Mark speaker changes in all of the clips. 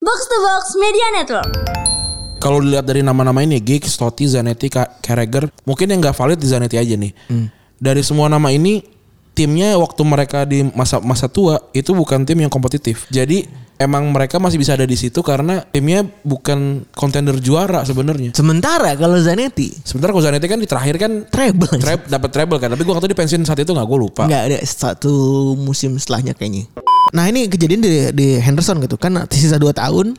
Speaker 1: Box to Box Media Network.
Speaker 2: Kalau dilihat dari nama-nama ini Gig, Totti, Zanetti, Ka- Carragher, mungkin yang nggak valid di Zanetti aja nih. Dari semua nama ini timnya waktu mereka di masa masa tua itu bukan tim yang kompetitif. Jadi emang mereka masih bisa ada di situ karena timnya bukan kontender juara sebenarnya.
Speaker 3: Sementara kalau Zanetti
Speaker 2: Sebentar kalau Zanetti kan di terakhir kan
Speaker 3: treble.
Speaker 2: trap dapat treble kan, tapi gua waktu di pensiun saat itu nggak gue lupa.
Speaker 3: Enggak ada satu musim setelahnya kayaknya. Nah ini kejadian di, di Henderson gitu kan sisa 2 tahun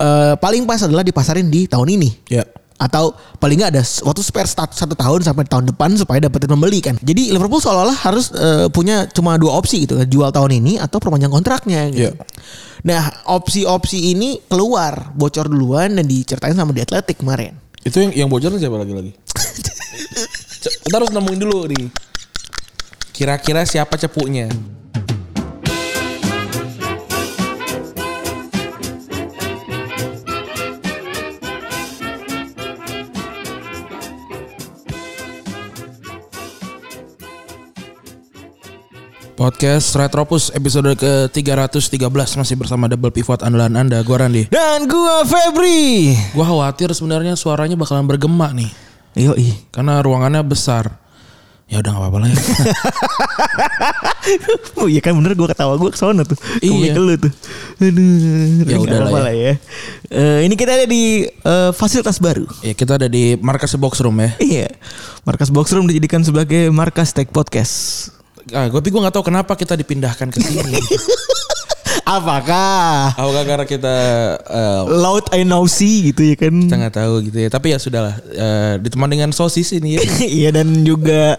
Speaker 3: eh, paling pas adalah dipasarin di tahun ini.
Speaker 2: Ya.
Speaker 3: Atau paling nggak ada s- waktu spare satu, satu tahun sampai tahun depan supaya dapetin pembeli kan. Jadi Liverpool seolah-olah harus eh, punya cuma dua opsi gitu kan. Jual tahun ini atau perpanjang kontraknya gitu.
Speaker 2: Iya.
Speaker 3: Nah opsi-opsi ini keluar bocor duluan dan diceritain sama di Athletic kemarin.
Speaker 2: Itu yang yang bocoran siapa lagi lagi? Ce- Kita harus nemuin dulu nih. Kira-kira siapa cepunya? Podcast Retropus episode ke-313 masih bersama double pivot andalan Anda, gua Randi.
Speaker 3: Dan gua Febri.
Speaker 2: Gua khawatir sebenarnya suaranya bakalan bergema nih
Speaker 3: Yoi.
Speaker 2: karena ruangannya besar. Ya udah nggak apa-apa lah ya.
Speaker 3: Oh iya kan bener gue ketawa gue kesana tuh
Speaker 2: Iya.
Speaker 3: Ke lu tuh Aduh
Speaker 2: Ya
Speaker 3: tapi
Speaker 2: udahlah
Speaker 3: nggak apa-apa
Speaker 2: ya.
Speaker 3: ya. Eh, Ini kita ada di eh, fasilitas baru
Speaker 2: ya kita ada di markas box room ya.
Speaker 3: Iya Markas Box Room dijadikan sebagai markas tech podcast
Speaker 2: Ah, gua- tapi gue nggak tahu kenapa kita dipindahkan ke sini.
Speaker 3: Apakah
Speaker 2: Apakah karena kita eh,
Speaker 3: Loud I know see gitu ya kan
Speaker 2: kita nggak tahu gitu ya. Tapi ya sudahlah. eh, ditemani dengan sosis ini ya.
Speaker 3: Iya dan juga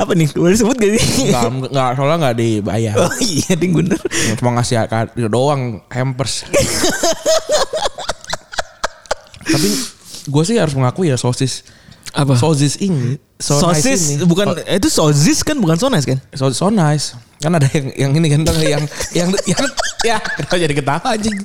Speaker 3: Apa nih Boleh sebut gak sih
Speaker 2: Nggak nggak soalnya nggak dibayar.
Speaker 3: Oh iya ding bener
Speaker 2: Cuma ngasih kado doang hampers. tapi gue sih harus mengakui ya sosis.
Speaker 3: Apa?
Speaker 2: Sosis ini. so nice ini.
Speaker 3: Sosis bukan eh, itu sosis kan bukan sonas kan?
Speaker 2: so, so nice kan ada yang yang ini kan tau nggak? yang yang yang ya kenapa jadi ketawa anjing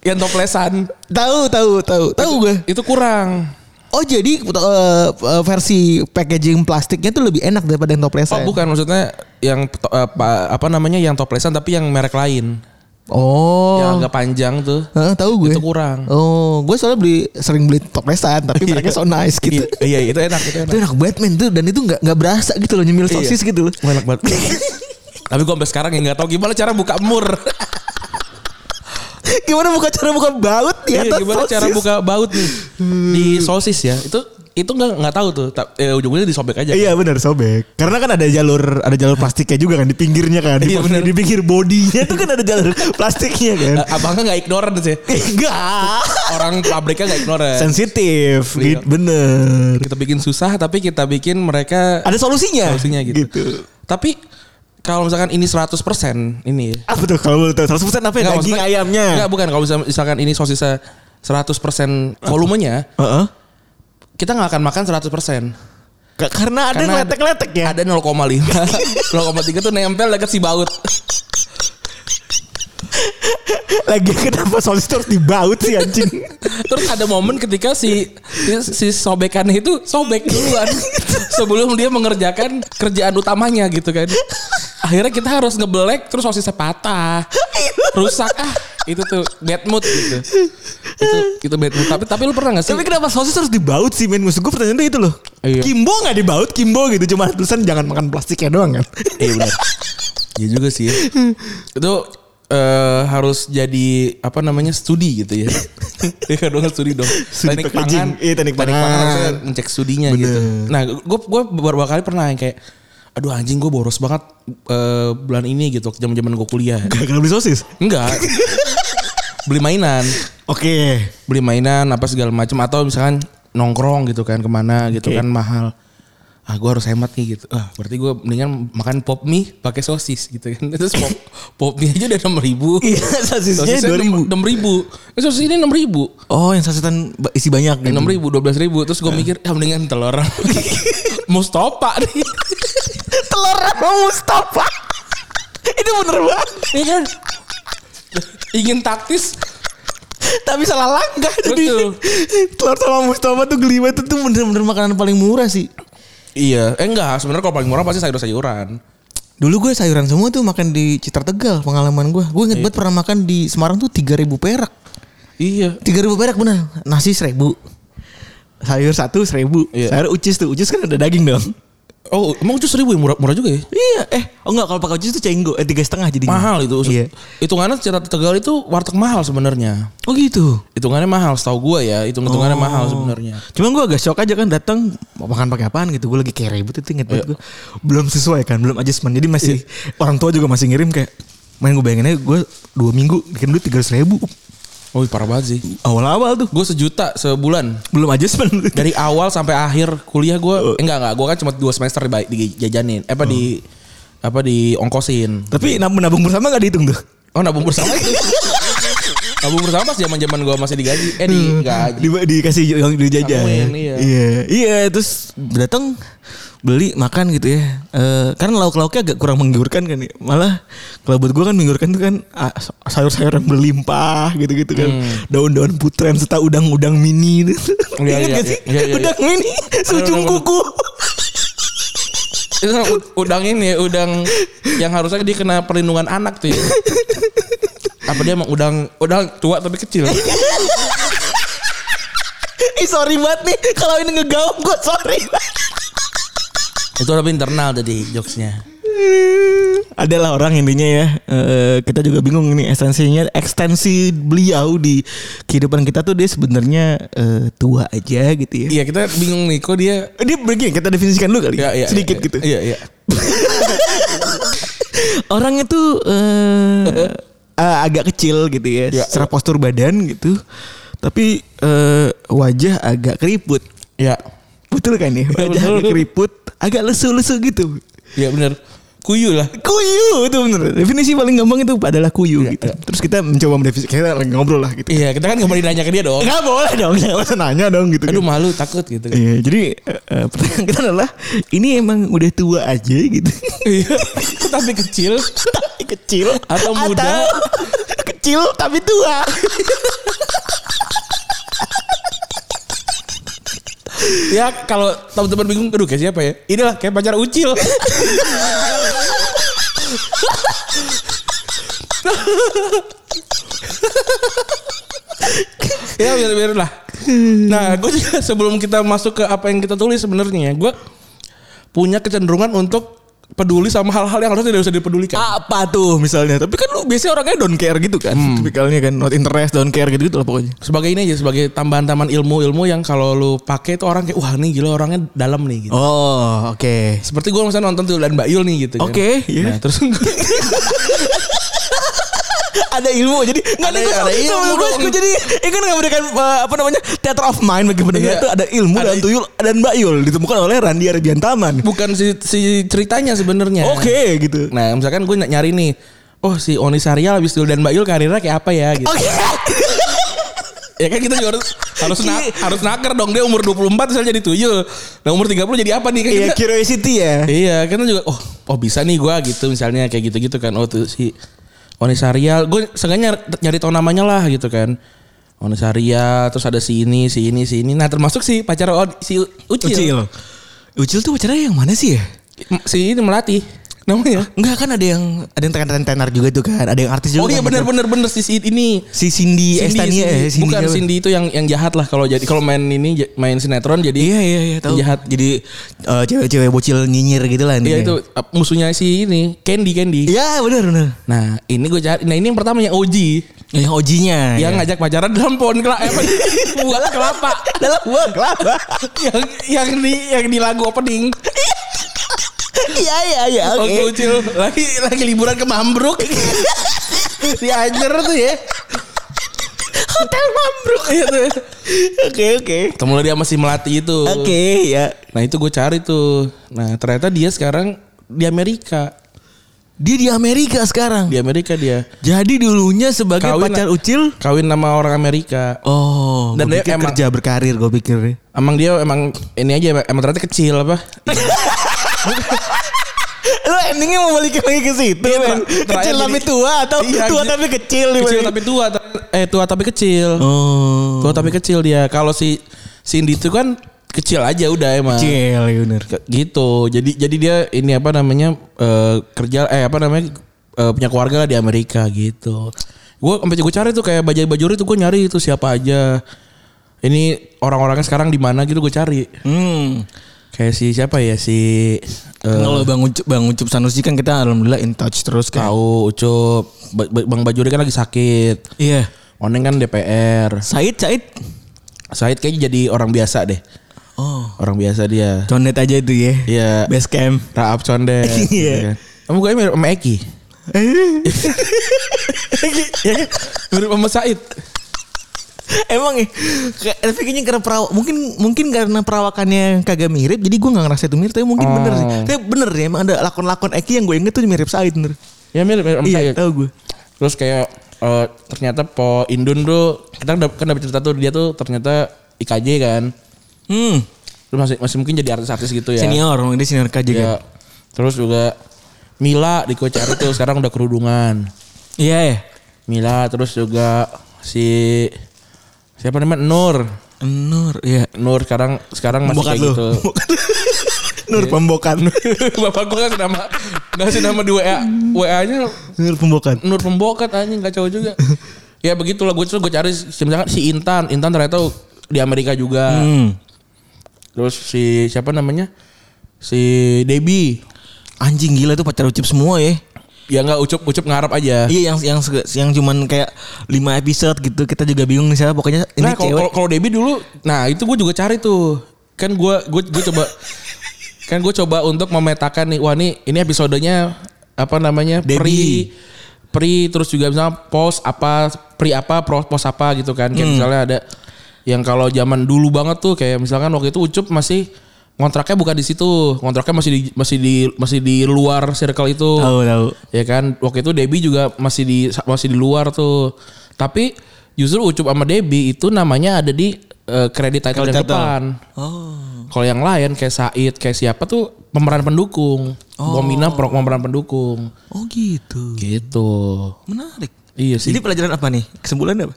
Speaker 2: yang toplesan
Speaker 3: Tahu tahu tahu tahu gue.
Speaker 2: itu kurang
Speaker 3: Oh jadi eh, eh, versi packaging plastiknya tuh lebih enak daripada yang toples
Speaker 2: oh bukan maksudnya yang to- eh, apa, apa namanya yang toplesan tapi yang merek lain
Speaker 3: Oh.
Speaker 2: yang Ya, agak panjang tuh
Speaker 3: Heeh, tahu gue.
Speaker 2: itu kurang
Speaker 3: Oh, gue soalnya beli sering beli toplesan tapi mereka so nice gitu.
Speaker 2: iya iya, itu enak itu
Speaker 3: itu
Speaker 2: enak
Speaker 3: enak Batman tuh dan itu nggak nggak berasa gitu loh nyemil sosis gitu loh.
Speaker 2: Wah, enak banget tapi gue sampai sekarang yang nggak tahu gimana cara buka mur
Speaker 3: gimana buka cara buka baut di
Speaker 2: Iya,
Speaker 3: atas
Speaker 2: gimana
Speaker 3: sosis?
Speaker 2: cara buka baut nih di sosis ya itu itu nggak nggak tahu tuh Ta- eh, ujung-ujungnya disobek aja
Speaker 3: Iya benar sobek. Karena kan ada jalur ada jalur plastiknya juga kan di pinggirnya kan. Di,
Speaker 2: Iya, benar.
Speaker 3: di pinggir bodinya tuh kan ada jalur plastiknya kan.
Speaker 2: Eh, abangnya nggak ignoran sih
Speaker 3: Enggak.
Speaker 2: orang pabriknya nggak ya. ignoran.
Speaker 3: Sensitif,
Speaker 2: Eh. Iya.
Speaker 3: gitu, bener.
Speaker 2: Kita bikin susah tapi kita bikin mereka
Speaker 3: Ada solusinya.
Speaker 2: solusinya gitu. Tapi kalau misalkan ini 100% ini ya.
Speaker 3: Apa tuh kalau boleh tahu 100% apa ya?
Speaker 2: Nggak,
Speaker 3: Eh, Daging
Speaker 2: maksudnya-
Speaker 3: ayamnya.
Speaker 2: Nggak, bukan kalau misalkan, misalkan ini sosisnya 100% volumenya,
Speaker 3: Heeh.
Speaker 2: kita nggak akan makan 100%.
Speaker 3: Ka- Karena ada
Speaker 2: Karena
Speaker 3: letek-letek ya.
Speaker 2: Ada 0,5. 0,3 tuh nempel dekat si baut.
Speaker 3: Lagi kenapa sosis terus dibaut sih anjing?
Speaker 2: Terus ada momen ketika si si sobekannya itu sobek duluan sebelum dia mengerjakan kerjaan utamanya gitu kan. Akhirnya kita harus ngebelek terus sosisnya patah. Rusak ah. Itu tuh bad mood gitu. Itu itu bad mood. Tapi tapi lu pernah gak sih?
Speaker 3: Tapi kenapa sosis harus dibaut sih men? Maksud gue pertanyaannya itu loh.
Speaker 2: Iya.
Speaker 3: Kimbo gak dibaut, Kimbo gitu. Cuma tulisan jangan makan plastiknya doang kan.
Speaker 2: Iya benar. Iya juga sih. ya. Itu eh, harus jadi apa namanya studi gitu ya. Iya dong studi dong.
Speaker 3: Studi
Speaker 2: teknik
Speaker 3: packaging.
Speaker 2: pangan.
Speaker 3: Iya, teknik pangan.
Speaker 2: harusnya ngecek studinya gitu. Nah, gue gue beberapa kali pernah yang kayak aduh anjing gue boros banget eh, bulan ini gitu zaman-zaman gue kuliah.
Speaker 3: Gak beli sosis?
Speaker 2: Enggak. beli mainan,
Speaker 3: Oke.
Speaker 2: beli mainan apa segala macam atau misalkan nongkrong gitu kan kemana gitu
Speaker 3: Oke.
Speaker 2: kan mahal. Ah gue harus hemat nih gitu. Ah berarti gue mendingan makan pop mie pakai sosis gitu kan. Terus pop, pop mie aja udah enam ribu.
Speaker 3: Iya sosisnya
Speaker 2: Sosisnya
Speaker 3: 2000.
Speaker 2: enam ribu. Eh, sosis ini enam ribu.
Speaker 3: Oh yang sosisan ba- isi banyak gitu.
Speaker 2: Enam ribu, dua belas ribu. Terus gue mikir, ah mendingan telur. Mustopa nih.
Speaker 3: Telur sama Mustafa. itu bener banget.
Speaker 2: Iya kan? Ingin taktis,
Speaker 3: Tapi salah langkah jadi.
Speaker 2: Betul.
Speaker 3: Telur sama Mustafa tuh geli banget itu bener-bener makanan paling murah sih.
Speaker 2: Iya, eh enggak. Sebenarnya kalau paling murah pasti sayur-sayuran.
Speaker 3: Dulu gue sayuran semua tuh makan di Citar Tegal pengalaman gue. Gue inget banget pernah makan di Semarang tuh 3000 perak.
Speaker 2: Iya.
Speaker 3: 3000 perak benar. Nasi 1000. Sayur satu 1000.
Speaker 2: Iya.
Speaker 3: Sayur ucis tuh. Ucis kan ada daging dong.
Speaker 2: Oh, emang itu seribu ya? murah, murah juga ya?
Speaker 3: Iya, eh, oh enggak kalau pakai ucis tuh cenggo, eh tiga setengah jadinya.
Speaker 2: Mahal itu.
Speaker 3: Iya.
Speaker 2: Hitungannya cerita Tegal itu warteg mahal sebenarnya.
Speaker 3: Oh gitu.
Speaker 2: Hitungannya mahal, setahu gua ya. Hitung hitungannya mahal sebenarnya.
Speaker 3: Oh. Cuman gue agak shock aja kan datang mau makan pakai apaan gitu. Gue lagi kayak ribut itu inget
Speaker 2: Iya.
Speaker 3: banget gue. Belum sesuai kan, belum adjustment. Jadi masih orang tua juga masih ngirim kayak main gue bayangin aja gue dua minggu bikin duit tiga ribu
Speaker 2: Oh, parah banget sih.
Speaker 3: awal-awal tuh
Speaker 2: Gue sejuta sebulan.
Speaker 3: belum adjustment
Speaker 2: Dari awal sampai akhir kuliah
Speaker 3: Uh.
Speaker 2: gue, enggak enggak, gue kan cuma dua semester di dijajanin, apa di
Speaker 3: Oh.
Speaker 2: apa di ongkosin.
Speaker 3: tapi nabung nabung bersama gak dihitung tuh
Speaker 2: Oh nabung bersama itu. nabung bersama pas zaman zaman gue masih digaji, eh di gaji.
Speaker 3: di, dikasih yang dijajan
Speaker 2: Sambungin, iya.
Speaker 3: iya iya terus datang beli makan gitu ya Eh kan lauk lauknya agak kurang menggiurkan kan ya. malah kalau buat gue kan menggiurkan tuh kan ah, sayur sayur yang berlimpah gitu gitu kan daun daun putren serta udang udang mini gitu.
Speaker 2: Hmm. Iya, iya,
Speaker 3: Ingat gak sih
Speaker 2: iya, iya, iya.
Speaker 3: udang mini sujung
Speaker 2: Aduh,
Speaker 3: kuku
Speaker 2: Itu kan ud- udang ini udang yang harusnya dia kena perlindungan anak tuh. Ya. Apa dia emang udang udang tua tapi kecil?
Speaker 3: Ih sorry banget nih kalau ini ngegaung gue sorry
Speaker 2: Itu tapi internal tadi jokesnya.
Speaker 3: adalah orang intinya ya Eh, kita juga bingung ini esensinya ekstensi beliau di kehidupan kita tuh dia sebenarnya eh, tua aja gitu ya.
Speaker 2: Iya kita bingung nih kok dia.
Speaker 3: Dia begini kita definisikan dulu kali
Speaker 2: Ya, ya,
Speaker 3: sedikit
Speaker 2: ya,
Speaker 3: gitu.
Speaker 2: Iya iya.
Speaker 3: Orang itu eh, eh, agak kecil gitu ya,
Speaker 2: Ya.
Speaker 3: secara postur badan gitu, tapi eh, wajah agak keriput.
Speaker 2: Iya.
Speaker 3: Betul kan ya? Wajah
Speaker 2: betul.
Speaker 3: agak keriput, agak lesu-lesu gitu.
Speaker 2: Iya benar. Kuyu lah.
Speaker 3: Kuyu itu bener Definisi paling gampang itu adalah kuyu gitu. Terus kita mencoba mendefinisikan kita lagi ngobrol lah gitu.
Speaker 2: Iya kita kan nggak boleh nanya ke dia dong.
Speaker 3: Enggak boleh dong, jangan usah nanya dong gitu.
Speaker 2: Aduh malu takut gitu.
Speaker 3: Iya, jadi eh, eh, pertanyaan kita adalah ini emang udah tua aja gitu.
Speaker 2: Iya. tapi kecil.
Speaker 3: tapi kecil
Speaker 2: Atau muda.
Speaker 3: kecil tapi tua.
Speaker 2: Ya kalau teman-teman bingung, aduh kayak siapa ya? Inilah kayak pacar ucil. ya biar biar lah. Nah, gue juga sebelum kita masuk ke apa yang kita tulis sebenarnya, gue punya kecenderungan untuk peduli sama hal-hal yang harusnya tidak usah dipedulikan.
Speaker 3: Apa tuh misalnya? Tapi kan lu biasanya orangnya don't care gitu kan. Tipikalnya kan not interest, don't care gitu-gitu lah pokoknya.
Speaker 2: Sebagai ini aja, sebagai tambahan-tambahan ilmu-ilmu yang kalau lu pakai itu orang kayak wah nih gila orangnya dalam nih gitu.
Speaker 3: Oh, oke.
Speaker 2: Seperti gue misalnya nonton tuh dan Mbak Yul nih gitu kan.
Speaker 3: Oke, iya.
Speaker 2: Nah, terus gue
Speaker 3: ada ilmu jadi nggak ada,
Speaker 2: Ada- ada ilmu
Speaker 3: ilmu gue,
Speaker 2: dong.
Speaker 3: gue jadi ini kan memberikan eh, apa namanya theater of mind bagi pendengar
Speaker 2: Iya.
Speaker 3: itu ada ilmu
Speaker 2: Ada
Speaker 3: dan
Speaker 2: il-
Speaker 3: tuyul dan mbak Yul ditemukan oleh Randi Ardiantaman
Speaker 2: bukan si, si ceritanya sebenarnya.
Speaker 3: Oke gitu.
Speaker 2: Nah, misalkan gue nyari nih, oh si Oni Sarial habis dulu dan Mbak Yul karirnya kayak apa ya gitu.
Speaker 3: Oke.
Speaker 2: Ya kan kita juga harus harus
Speaker 3: Iya.
Speaker 2: na- harus nakar dong dia umur 24 misalnya jadi tuyul. Nah, umur 30 jadi apa nih Kan
Speaker 3: Iya
Speaker 2: kita-
Speaker 3: curiosity ya.
Speaker 2: Iya, kita juga oh, oh bisa nih gua gitu misalnya kayak gitu-gitu kan. Oh tuh si Oni Sarial, gue sengaja nyari, nyari tahu namanya lah gitu kan. Oni Sarial, terus ada si ini, si ini, si ini. Nah, termasuk si pacar On- si U- Ucil.
Speaker 3: Ucil. Gitu. Ucil tuh pacarnya yang mana sih ya?
Speaker 2: M- Si ini melatih namanya.
Speaker 3: Enggak kan ada yang ada yang tenar-tenar juga tuh kan. Ada yang artis juga.
Speaker 2: Oh iya
Speaker 3: kan,
Speaker 2: benar
Speaker 3: gitu.
Speaker 2: benar benar si si ini. Iya,
Speaker 3: Si Cindy, Estania
Speaker 2: Cindy.
Speaker 3: ya, Cindy
Speaker 2: Bukan
Speaker 3: siapa?
Speaker 2: Cindy itu yang yang jahat lah kalau jadi kalau main ini j- main sinetron jadi
Speaker 3: Iya iya iya tahu.
Speaker 2: Jahat.
Speaker 3: Jadi eh, cewek-cewek bocil nyinyir gitu lah
Speaker 2: Iya
Speaker 3: intinya.
Speaker 2: itu uh, musuhnya si ini Candy Candy.
Speaker 3: Iya benar benar.
Speaker 2: Nah ini gue cari. Nah ini yang pertama yang OG
Speaker 3: Yang OG-nya.
Speaker 2: yang ngajak pacaran dalam pohon kelapa eh, apa? buah kelapa
Speaker 3: dalam buah kelapa.
Speaker 2: yang yang di yang di lagu opening.
Speaker 3: Iya iya iya
Speaker 2: Oh,
Speaker 3: oke.
Speaker 2: Ucil lagi lagi liburan ke Mambruk. di Anyer tuh ya.
Speaker 3: Hotel Mambruk.
Speaker 2: Iya tuh.
Speaker 3: Oke oke.
Speaker 2: Ketemu dia masih melatih itu.
Speaker 3: Oke ya.
Speaker 2: Nah itu gue cari tuh. Nah ternyata dia sekarang di Amerika.
Speaker 3: Dia di Amerika sekarang.
Speaker 2: Di Amerika dia.
Speaker 3: Jadi dulunya sebagai
Speaker 2: Kawin-
Speaker 3: pacar Ucil.
Speaker 2: Kawin sama orang Amerika.
Speaker 3: Oh,
Speaker 2: Dan dia
Speaker 3: dan pikir
Speaker 2: emang-
Speaker 3: kerja berkarir gue pikir ya.
Speaker 2: Emang dia emang ini aja emang, emang ternyata kecil apa?
Speaker 3: Lu endingnya mau balik lagi ke situ
Speaker 2: Iya,
Speaker 3: men.
Speaker 2: ter- terakhir
Speaker 3: Kecil
Speaker 2: jadi-
Speaker 3: tapi tua atau
Speaker 2: Iya,
Speaker 3: tua
Speaker 2: jadi-
Speaker 3: tapi kecil nih,
Speaker 2: Kecil
Speaker 3: men?
Speaker 2: tapi tua. ter- Eh tua tapi kecil.
Speaker 3: Oh.
Speaker 2: Tua tapi kecil dia. Kalau si Cindy itu kan kecil aja udah emang.
Speaker 3: Kecil ya bener.
Speaker 2: Ke- Gitu. Jadi jadi dia ini apa namanya eh, kerja eh apa namanya eh, punya keluarga lah di Amerika gitu. Gue sampai gue cari tuh kayak bajai bajuri tuh gue nyari itu siapa aja. Ini orang-orangnya sekarang di mana gitu gue cari.
Speaker 3: Hmm.
Speaker 2: Kayak si siapa ya si eh,
Speaker 3: Kalau Bang Ucup, Bang Ucup Sanusi kan kita alhamdulillah in touch terus kan.
Speaker 2: tahu Ucup Ba- Ba- Bang Bajuri kan lagi sakit.
Speaker 3: Iya.
Speaker 2: Oneng kan DPR.
Speaker 3: Said, Said.
Speaker 2: Said kayaknya jadi orang biasa deh.
Speaker 3: Oh.
Speaker 2: Orang biasa dia.
Speaker 3: Condet aja itu ya.
Speaker 2: Iya.
Speaker 3: Base camp.
Speaker 2: Raap Conde.
Speaker 3: Iya.
Speaker 2: kan? Kamu gue mirip sama Eki.
Speaker 3: Ya
Speaker 2: Iya kan? Mirip sama Said.
Speaker 3: Emang ya, kayak- tapi kayaknya karena perawak, mungkin mungkin karena perawakannya kagak mirip, jadi gue nggak ngerasa itu mirip, tapi mungkin
Speaker 2: Oh.
Speaker 3: bener sih. Tapi bener ya, emang ada lakon-lakon Eki yang gue inget tuh mirip Said bener.
Speaker 2: Ya mirip, mirip sama
Speaker 3: Iya,
Speaker 2: Said.
Speaker 3: tahu gue.
Speaker 2: Terus kayak eh, ternyata Po Indun bro. Kita kan dap- kan dapet cerita tuh dia tuh ternyata IKJ kan.
Speaker 3: Hmm,
Speaker 2: Lu masih, masih mungkin jadi artis-artis gitu ya.
Speaker 3: senior, orang dia senior KJ kan.
Speaker 2: Ya. Terus juga Mila di gue cari tuh sekarang udah kerudungan.
Speaker 3: Iya ya.
Speaker 2: Mila terus juga si siapa namanya Nur. Eh,
Speaker 3: Nur, iya.
Speaker 2: Nur sekarang sekarang masih
Speaker 3: Pembokat
Speaker 2: kayak
Speaker 3: lu.
Speaker 2: gitu. Iya.
Speaker 3: Nur pembokan.
Speaker 2: Bapak gua kasih nama ngasih nama di WA WA-nya
Speaker 3: Nur pembokan.
Speaker 2: Nur Pembokat anjing kacau juga. ya begitulah gue gue cari si- misalkan si Intan, Intan ternyata di Amerika juga.
Speaker 3: Hmm.
Speaker 2: Terus si siapa namanya? Si Debbie.
Speaker 3: Anjing gila tuh pacar ucip semua ya.
Speaker 2: Ya nggak ucup ucup ngarap aja.
Speaker 3: Iya yang yang sege- yang cuman kayak 5 episode gitu kita juga bingung nih siapa pokoknya ini
Speaker 2: nah kalau
Speaker 3: cewek.
Speaker 2: kalau- kalau Debbie dulu, nah itu gue juga cari tuh. Kan gue gue gue coba kan gue coba untuk memetakan nih wah nih ini episodenya apa namanya
Speaker 3: Debbie.
Speaker 2: pri pri terus juga misalnya post apa pri apa pro- post apa gitu kan
Speaker 3: Hmm.
Speaker 2: kayak misalnya ada yang kalau zaman dulu banget tuh kayak misalkan waktu itu Ucup masih kontraknya bukan di situ kontraknya masih di masih di masih di luar circle itu
Speaker 3: Tahu tahu.
Speaker 2: ya kan waktu itu Debbie juga masih di masih di luar tuh tapi justru Ucup sama Debbie itu namanya ada di eh, kredit title yang
Speaker 3: Kredit title.
Speaker 2: depan
Speaker 3: Oh.
Speaker 2: kalau yang lain kayak Said kayak siapa tuh pemeran pendukung Bomina pro- pemeran pendukung
Speaker 3: Oh gitu.
Speaker 2: gitu
Speaker 3: Menarik.
Speaker 2: iya sih
Speaker 3: Jadi pelajaran apa nih? Kesimpulannya apa?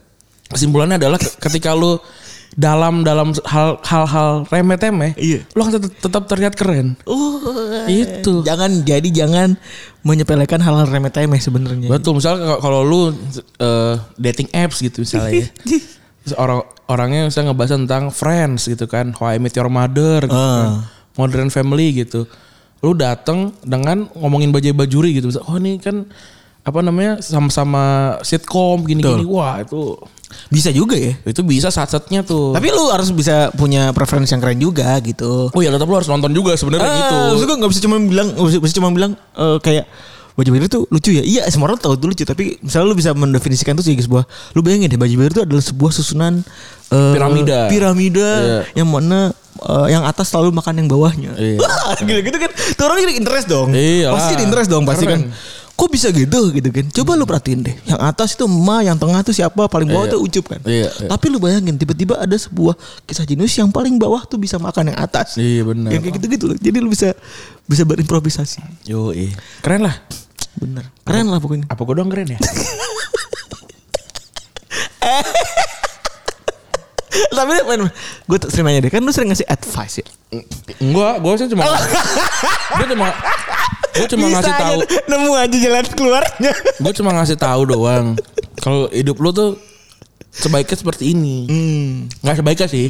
Speaker 2: kesimpulannya adalah ke- ketika lu dalam dalam hal hal-hal remeh-temeh
Speaker 3: Iya.
Speaker 2: lu akan tet- tetap terlihat keren
Speaker 3: Uh,
Speaker 2: Itu.
Speaker 3: Jangan jadi jangan menyepelekan hal-hal remeh-temeh sebenarnya.
Speaker 2: Betul, misalnya kalau- kalau lu eh, dating apps gitu misalnya ya.
Speaker 3: Iya.
Speaker 2: Terus orang orangnya misalnya ngebahas tentang friends gitu kan, how I met your mother gitu kan.
Speaker 3: Ah.
Speaker 2: Modern family gitu. Lu dateng dengan ngomongin bajai bajuri gitu. Misalnya, oh ini kan apa namanya sama-sama sitcom gini-gini. Wah, itu
Speaker 3: Bisa juga ya.
Speaker 2: itu bisa satsetnya tuh.
Speaker 3: Tapi lu harus bisa punya preferensi yang keren juga gitu.
Speaker 2: oh iya, tetap lu harus nonton juga sebenarnya
Speaker 3: Ah,
Speaker 2: gitu.
Speaker 3: Maksud gue gak bisa cuma bilang nggak bisa, bisa cuma bilang eh, kayak baju biru tuh lucu ya. Iya semua orang tahu itu lucu tapi misalnya lu bisa mendefinisikan itu sebagai sebuah lu bayangin deh baju biru itu adalah sebuah susunan eh,
Speaker 2: Piramida.
Speaker 3: piramida yang mana eh, yang atas selalu makan yang bawahnya.
Speaker 2: Iya.
Speaker 3: Wah, Gila gitu kan. Tuh orang jadi interest dong.
Speaker 2: Iyalah.
Speaker 3: Pasti jadi interest dong pasti
Speaker 2: Keren.
Speaker 3: kan. Kok bisa gitu gitu kan? Coba lu perhatiin deh. Yang atas itu emak, yang tengah tuh siapa, paling bawah
Speaker 2: Iya.
Speaker 3: tuh ucup kan.
Speaker 2: Iya, iya.
Speaker 3: Tapi lu bayangin tiba-tiba ada sebuah kisah jenius yang paling bawah tuh bisa makan yang atas.
Speaker 2: Iya, benar.
Speaker 3: Yang kayak gitu-gitu loh. Jadi lu bisa bisa berimprovisasi.
Speaker 2: Yoi. Keren lah.
Speaker 3: Bener. Keren lah pokoknya.
Speaker 2: Apa gue doang keren ya?
Speaker 3: Tapi gue sering nanya deh, kan lu sering ngasih advice ya?
Speaker 2: Enggak, gue sih cuma gue cuma gue cuma
Speaker 3: Bisa
Speaker 2: ngasih
Speaker 3: aja
Speaker 2: tahu
Speaker 3: deh, Nemu aja jalan keluarnya.
Speaker 2: gue cuma ngasih tahu doang kalau hidup lu tuh sebaiknya seperti ini
Speaker 3: Hmm.
Speaker 2: nggak sebaiknya sih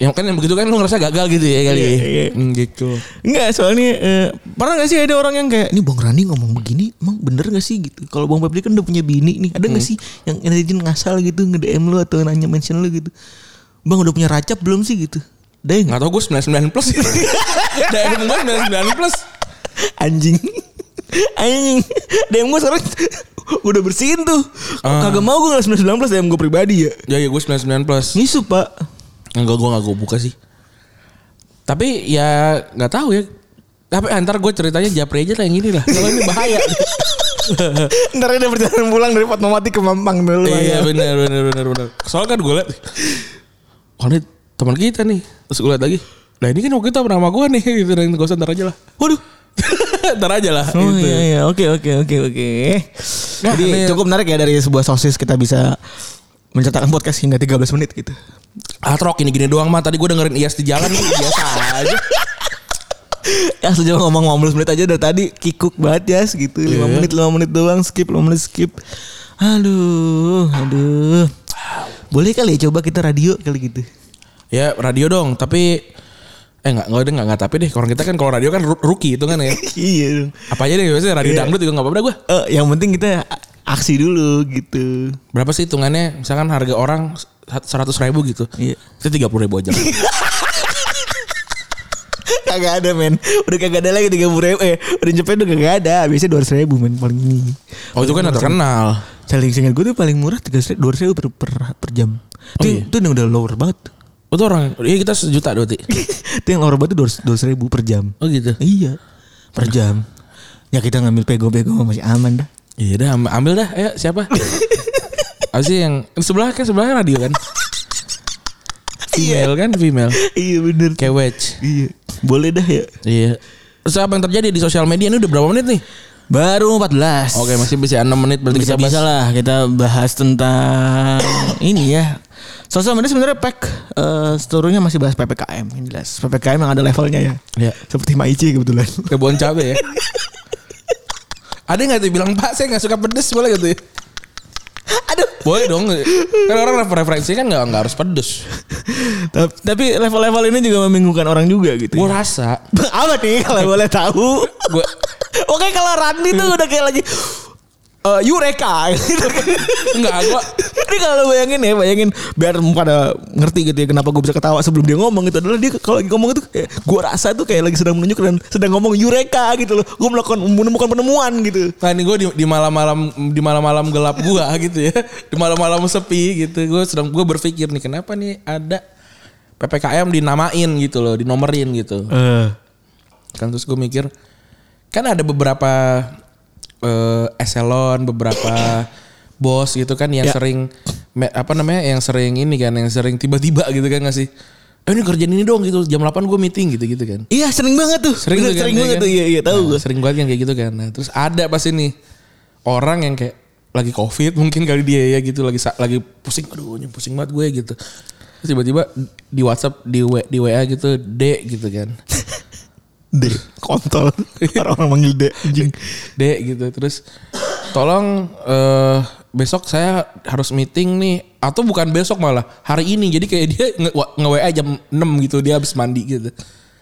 Speaker 2: yang kan yang begitu kan lu ngerasa gagal gitu ya kali
Speaker 3: Iya, iya.
Speaker 2: Hmm, gitu
Speaker 3: Enggak soalnya eh, pernah gak sih ada orang yang kayak ini Bang Rani ngomong begini emang bener gak sih gitu kalau Bang Pepri kan udah punya bini nih ada nggak
Speaker 2: Hmm.
Speaker 3: sih yang netizen ngasal gitu nge DM lu atau nanya mention lu gitu Bang udah punya racap belum sih gitu Deh
Speaker 2: nggak
Speaker 3: nggak
Speaker 2: tau gue 99 plus daerah gue 99 plus
Speaker 3: anjing anjing DM gue sekarang udah bersihin tuh kagak mau gue ngelas 19 DM gue pribadi ya
Speaker 2: ya ya gue 99 plus
Speaker 3: Ngisup pak
Speaker 2: enggak gue nggak gue buka sih tapi ya nggak tahu ya tapi ah, ntar gue ceritanya japri aja lah yang ini lah kalau ini bahaya
Speaker 3: Ntar dia perjalanan pulang dari Fatmawati ke Mampang dulu
Speaker 2: Iya
Speaker 3: ya.
Speaker 2: benar benar benar benar. Soalnya kan gue liat, oh ini teman kita nih. Terus gue liat lagi, nah ini kan waktu itu nama gue nih, gitu dan gak usah ntar aja lah.
Speaker 3: Waduh
Speaker 2: ntar aja lah.
Speaker 3: Oh
Speaker 2: gitu.
Speaker 3: iya iya oke oke oke oke.
Speaker 2: Nah,
Speaker 3: Jadi
Speaker 2: ini-
Speaker 3: cukup menarik ya dari sebuah sosis kita bisa menceritakan podcast hingga 13 menit gitu.
Speaker 2: Atrok ini gini doang mah tadi gue dengerin Ias di jalan nih biasa aja.
Speaker 3: Ya sejauh ngomong 15 menit aja dari tadi kikuk banget ya segitu. 5
Speaker 2: Iya.
Speaker 3: menit 5 menit doang skip 5 menit skip. Aduh, aduh. Boleh kali ya coba kita radio kali gitu.
Speaker 2: Ya radio dong tapi eh nggak nggak deh nggak nggak tapi deh kalau kita kan kalau radio kan ru- rookie itu kan ya.
Speaker 3: iya. dong.
Speaker 2: Apa aja deh biasanya radio
Speaker 3: Iya.
Speaker 2: dangdut juga nggak apa-apa dah gue.
Speaker 3: Eh, yang penting kita aksi dulu gitu.
Speaker 2: Berapa sih hitungannya? Misalkan harga orang seratus ribu gitu.
Speaker 3: Iya.
Speaker 2: Itu tiga puluh ribu aja.
Speaker 3: kagak ada men udah kagak ada lagi tiga ribu eh udah cepet udah kagak ada biasanya dua ribu men paling ini
Speaker 2: Oh itu kan nggak terkenal.
Speaker 3: saling singkat gue tuh paling murah tiga ratus dua ribu per, per, per jam
Speaker 2: Oh,
Speaker 3: itu yang- itu yang udah lower banget
Speaker 2: Itu orang. Iya kita sejuta berarti.
Speaker 3: itu yang lower banget tuh dua ribu per jam
Speaker 2: Oh gitu.
Speaker 3: iya per jam ya kita ngambil pego-pego masih aman dah
Speaker 2: Iya dah am- ambil dah. Ayo siapa? Apa sih yang sebelah kan sebelahnya radio kan? Female kan female.
Speaker 3: iya bener
Speaker 2: Kayak wedge.
Speaker 3: iya boleh dah ya
Speaker 2: Iya. Terus apa yang terjadi di sosial media ini udah berapa menit nih?
Speaker 3: baru 14
Speaker 2: Oke masih bisa 6 menit berarti kita
Speaker 3: bisa
Speaker 2: bahas.
Speaker 3: bisa lah kita bahas tentang ini ya sosial media sebenarnya pek eh, seluruhnya masih bahas ppkm yang jelas ppkm yang ada levelnya ya
Speaker 2: Iya.
Speaker 3: seperti maici kebetulan
Speaker 2: Kebun cabe ya. Ada nggak tuh bilang Pak saya nggak suka pedes boleh gitu ya?
Speaker 3: aduh
Speaker 2: Boleh dong. Kan orang refer- referensi kan nggak nggak harus pedes.
Speaker 3: Ta- tapi level-level ini juga membingungkan orang juga gitu
Speaker 2: Gue
Speaker 3: ya.
Speaker 2: rasa
Speaker 3: apa nih kalau boleh tahu
Speaker 2: gue
Speaker 3: oke kalau Randy tuh udah kayak lagi eh, Eureka gitu.
Speaker 2: nggak gue
Speaker 3: Ini kalau bayangin ya, bayangin biar pada ngerti gitu ya kenapa gue bisa ketawa sebelum dia ngomong itu adalah dia kalau lagi ngomong itu kayak gue rasa tuh kayak lagi sedang menunjuk dan sedang ngomong eureka gitu loh. Gue melakukan menemukan penemuan gitu.
Speaker 2: Nah ini gue di, di malam-malam di malam-malam gelap gue gitu ya, di malam-malam sepi gitu. Gue sedang gue berpikir nih kenapa nih ada ppkm dinamain gitu loh, dinomerin gitu. Kan terus gue mikir kan ada beberapa eh, eselon, beberapa bos gitu kan yang
Speaker 3: Ya.
Speaker 2: sering me- apa namanya yang sering ini kan, yang sering tiba-tiba gitu kan ngasih. Eh ini kerjaan ini dong gitu. Jam 8 gue meeting gitu-gitu kan.
Speaker 3: Iya sering banget tuh.
Speaker 2: Sering
Speaker 3: Bener,
Speaker 2: tuh kan,
Speaker 3: sering
Speaker 2: ya
Speaker 3: banget
Speaker 2: kan?
Speaker 3: tuh. Iya iya tahu
Speaker 2: Nah,
Speaker 3: gue.
Speaker 2: Sering banget yang kayak gitu kan. Nah, terus ada pas ini orang yang kayak lagi covid mungkin kali dia ya gitu lagi sa- lagi pusing aduh ini pusing banget gue gitu terus tiba-tiba di WhatsApp di W- di WA gitu D gitu kan
Speaker 3: Deh kontol. Orang-orang manggil deh anjing.
Speaker 2: D gitu terus tolong eh, besok saya harus meeting nih atau bukan besok malah hari ini jadi kayak dia nge, wa- nge WA jam 6 gitu dia habis mandi gitu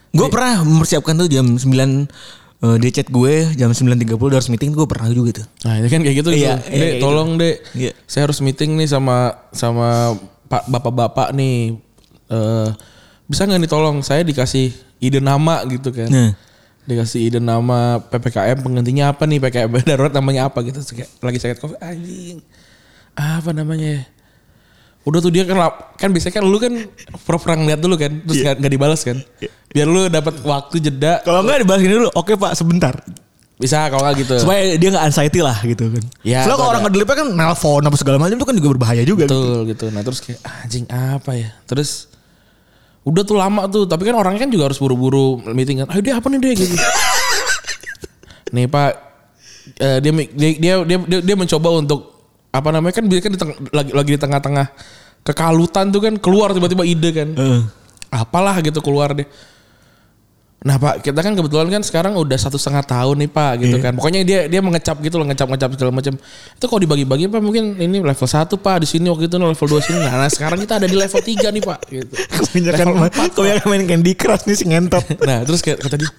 Speaker 3: Gue pernah mempersiapkan tuh jam 9 eh, dia chat gue jam 9.30 udah harus meeting gue pernah juga tuh.
Speaker 2: Nah, ini kan kayak gitu
Speaker 3: Iya,
Speaker 2: iya,
Speaker 3: iya, kayak
Speaker 2: Dek, tolong, Dek.
Speaker 3: Iya.
Speaker 2: Saya harus meeting nih sama sama Pak bapak-bapak nih. Eh bisa nggak nih tolong saya dikasih ide nama gitu kan.
Speaker 3: Nah.
Speaker 2: Dikasih ide nama PPKM penggantinya apa nih? PPKM darurat namanya apa gitu. Terus kayak Lagi sakit Covid anjing. Apa namanya ya? Udah tuh dia kan lap- kan biasanya kan lu kan pura-pura ngeliat dulu kan,
Speaker 3: Iya.
Speaker 2: terus nggak nggak dibalas kan. Biar lu dapat waktu jeda.
Speaker 3: Kalau enggak dibahas gini dulu. Oke Pak, sebentar.
Speaker 2: Bisa kalau nggak gitu.
Speaker 3: supaya dia nggak anxiety lah gitu kan.
Speaker 2: Ya,
Speaker 3: Soalnya kalau
Speaker 2: ada.
Speaker 3: orang ngedelipnya kan nelpon apa segala macam itu kan juga berbahaya juga. Gitu.
Speaker 2: Betul gitu. Nah terus kayak "Ah, anjing apa ya? Terus udah tuh lama tuh. Tapi kan orangnya kan juga harus buru-buru meeting kan. Ayo dia apa nih dia gitu. Nih pak eh, dia, mi- dia, dia dia dia dia mencoba untuk apa namanya kan biasanya kan di teng- lagi lagi di tengah-tengah kekalutan tuh kan keluar tiba-tiba ide kan.
Speaker 3: Heeh.
Speaker 2: Apalah gitu keluar deh. Nah pak kita kan kebetulan kan sekarang udah satu setengah tahun nih pak gitu kan. Pokoknya dia dia mengecap gitu loh ngecap ngecap segala macam. Itu kalau dibagi-bagi pak mungkin ini level 1 pak di sini waktu itu level 2 sini. Nah, nah, sekarang kita ada di level 3 nih pak. Gitu.
Speaker 3: Kebanyakan
Speaker 2: Level
Speaker 3: main,
Speaker 2: empat,
Speaker 3: kebanyakan main Candy Crush nih si ngentot.
Speaker 2: Nah terus kayak kata dia,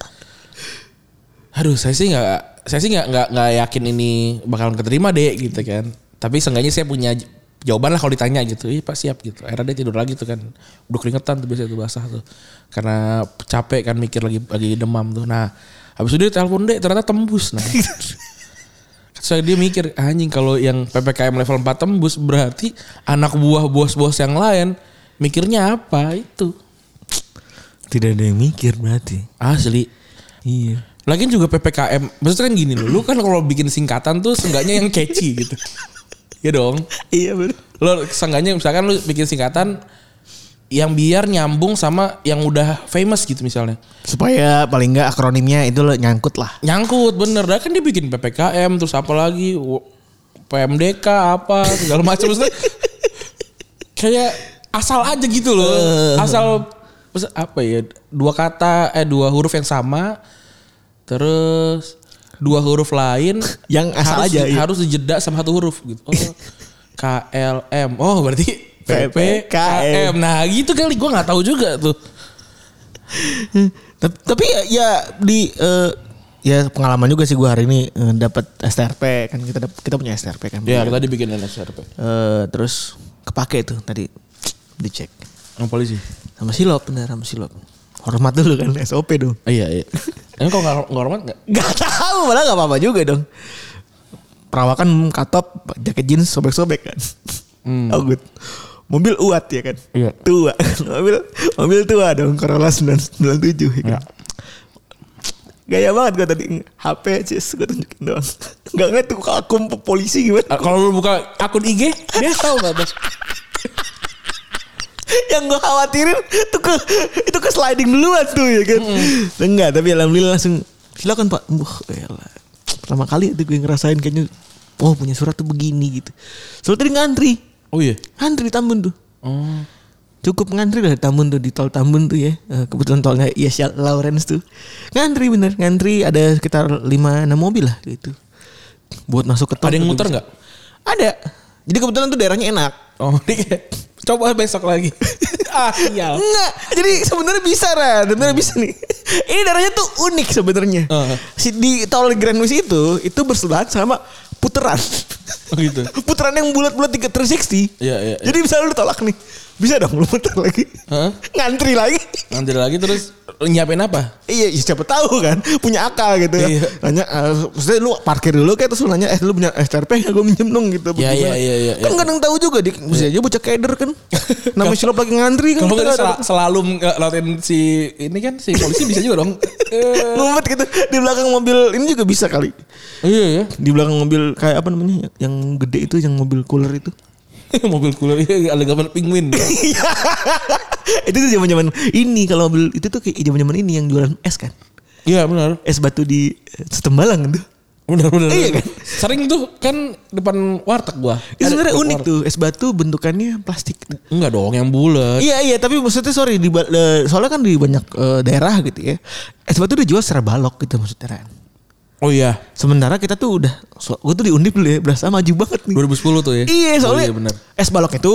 Speaker 2: aduh saya sih nggak saya sih nggak nggak nggak yakin ini bakalan keterima deh gitu kan. Tapi seenggaknya saya punya j- jawaban lah kalau ditanya gitu. Ih pak siap gitu. Akhirnya dia tidur lagi tuh kan. Udah keringetan tuh biasanya tuh basah tuh. Karena capek kan mikir lagi lagi demam tuh. Nah habis itu dia telepon deh ternyata tembus. Nah saya dia mikir anjing kalau yang PPKM level 4 tembus berarti anak buah bos-bos yang lain mikirnya apa itu.
Speaker 3: Tidak ada yang mikir berarti.
Speaker 2: Asli.
Speaker 3: Iya.
Speaker 2: Lagian juga PPKM, maksudnya kan gini loh, lu kan kalau bikin singkatan tuh seenggaknya yang catchy gitu. Ya dong.
Speaker 3: Iya benar.
Speaker 2: Lo seenggaknya misalkan lu bikin singkatan yang biar nyambung sama yang udah famous gitu misalnya.
Speaker 3: Supaya paling nggak akronimnya itu lo nyangkut lah.
Speaker 2: Nyangkut bener, dah kan dia bikin PPKM terus apa lagi W- PMDK apa segala macam maksudnya. Kayak asal aja gitu loh.
Speaker 3: Eh.
Speaker 2: Asal pes- apa ya? Dua kata eh dua huruf yang sama terus dua huruf lain
Speaker 3: Yang asal
Speaker 2: harus,
Speaker 3: aja, iya.
Speaker 2: harus dijeda sama satu huruf gitu. Oh, KLM. Oh, berarti PPKM.
Speaker 3: PPKM.
Speaker 2: Nah, gitu kali gua nggak tahu juga tuh.
Speaker 3: Tapi, tapi ya, ya di eh, ya pengalaman juga sih gue hari ini eh, dapat STRP kan kita dap- kita punya STRP kan.
Speaker 2: Ya, tadi bikin NSRP.
Speaker 3: Eh, terus kepake tuh tadi dicek
Speaker 2: Yang polisi.
Speaker 3: sama silop bener sama silop. Hormat dulu kan SOP dong.
Speaker 2: iya, iya. Emang kalau nggak- nggak hormat nggak?
Speaker 3: Gak tahu malah gak apa-apa juga dong. Perawakan katop, jaket jeans sobek-sobek kan. Oh good. Mobil uat ya kan.
Speaker 2: Iya.
Speaker 3: Tua. mobil mobil tua dong Corolla 997 ya kan. Gaya banget gue tadi HP cis gue tunjukin doang. Gak ngeliat tuh akum polisi gimana.
Speaker 2: Kalau lu buka akun IG, dia tahu nggak tuh?
Speaker 3: yang gue khawatirin itu ke itu ke sliding duluan tuh ya kan enggak tapi alhamdulillah langsung silakan pak Wah, elah. pertama kali itu gue ngerasain kayaknya oh punya surat tuh begini gitu soalnya tadi ngantri
Speaker 2: Oh iya.
Speaker 3: ngantri di Tambun tuh
Speaker 2: Oh.
Speaker 3: cukup ngantri dari Tambun tuh di tol Tambun tuh ya Eh, kebetulan tolnya Yes Lawrence tuh ngantri bener ngantri ada sekitar 5-6 mobil lah gitu buat masuk ke
Speaker 2: Ada
Speaker 3: tol
Speaker 2: yang
Speaker 3: tuh
Speaker 2: muter
Speaker 3: bisa.
Speaker 2: nggak?
Speaker 3: ada jadi kebetulan tuh daerahnya enak
Speaker 2: Oh, coba besok lagi. ah, iya.
Speaker 3: Enggak, jadi sebenarnya bisa Ran, sebenarnya bisa nih. Ini darahnya tuh unik sebenarnya.
Speaker 2: Heeh.
Speaker 3: Si di tol Grand Wis itu itu bersebelahan sama puteran.
Speaker 2: Oh, gitu.
Speaker 3: puteran yang bulat-bulat 3
Speaker 2: Iya,
Speaker 3: 360.
Speaker 2: iya, iya.
Speaker 3: Jadi misalnya lu tolak nih. Bisa dong lu puter lagi.
Speaker 2: Heeh.
Speaker 3: Ngantri lagi.
Speaker 2: Nanti lagi terus nyiapin apa?
Speaker 3: Iya, ya siapa tahu kan punya akal gitu.
Speaker 2: Iya.
Speaker 3: Nanya, eh, maksudnya lu parkir dulu kayak terus lu nanya, eh lu punya STRP nggak gue minjem dong gitu.
Speaker 2: Iya, iya,
Speaker 3: Bagaimana?
Speaker 2: iya, iya,
Speaker 3: Kan
Speaker 2: iya.
Speaker 3: kadang tahu juga, dik, bisa aja bocah keder kan. Nama silop lagi ngantri kan.
Speaker 2: Kalau
Speaker 3: kita
Speaker 2: nggak
Speaker 3: nggak tahu.
Speaker 2: sel- selalu ngelatin si ini kan si polisi bisa juga dong. Eh,
Speaker 3: ngumpet gitu di belakang mobil ini juga bisa kali
Speaker 2: iya ya.
Speaker 3: di belakang mobil kayak apa namanya yang gede itu yang mobil cooler itu
Speaker 2: Mobil cooler iya, ada gambar penguin.
Speaker 3: Iya. itu tuh zaman zaman ini kalau mobil itu tuh kayak zaman zaman ini yang jualan es kan
Speaker 2: Iya benar.
Speaker 3: es batu di eh, setembalang tuh
Speaker 2: Benar benar.
Speaker 3: Iya
Speaker 2: benar.
Speaker 3: kan?
Speaker 2: Sering tuh kan depan warteg gua.
Speaker 3: itu sebenarnya
Speaker 2: Ada-
Speaker 3: unik tuh es batu bentukannya plastik
Speaker 2: Enggak dong yang bulat.
Speaker 3: iya iya tapi maksudnya sorry di ba- eh, soalnya kan di banyak eh, daerah gitu ya es batu dijual secara balok gitu maksudnya Ran.
Speaker 2: Oh iya.
Speaker 3: sementara kita tuh udah so, gue tuh diundip dulu ya berasa maju banget nih
Speaker 2: 2010 tuh ya.
Speaker 3: Iya soalnya
Speaker 2: Oh, iya benar.
Speaker 3: es balok itu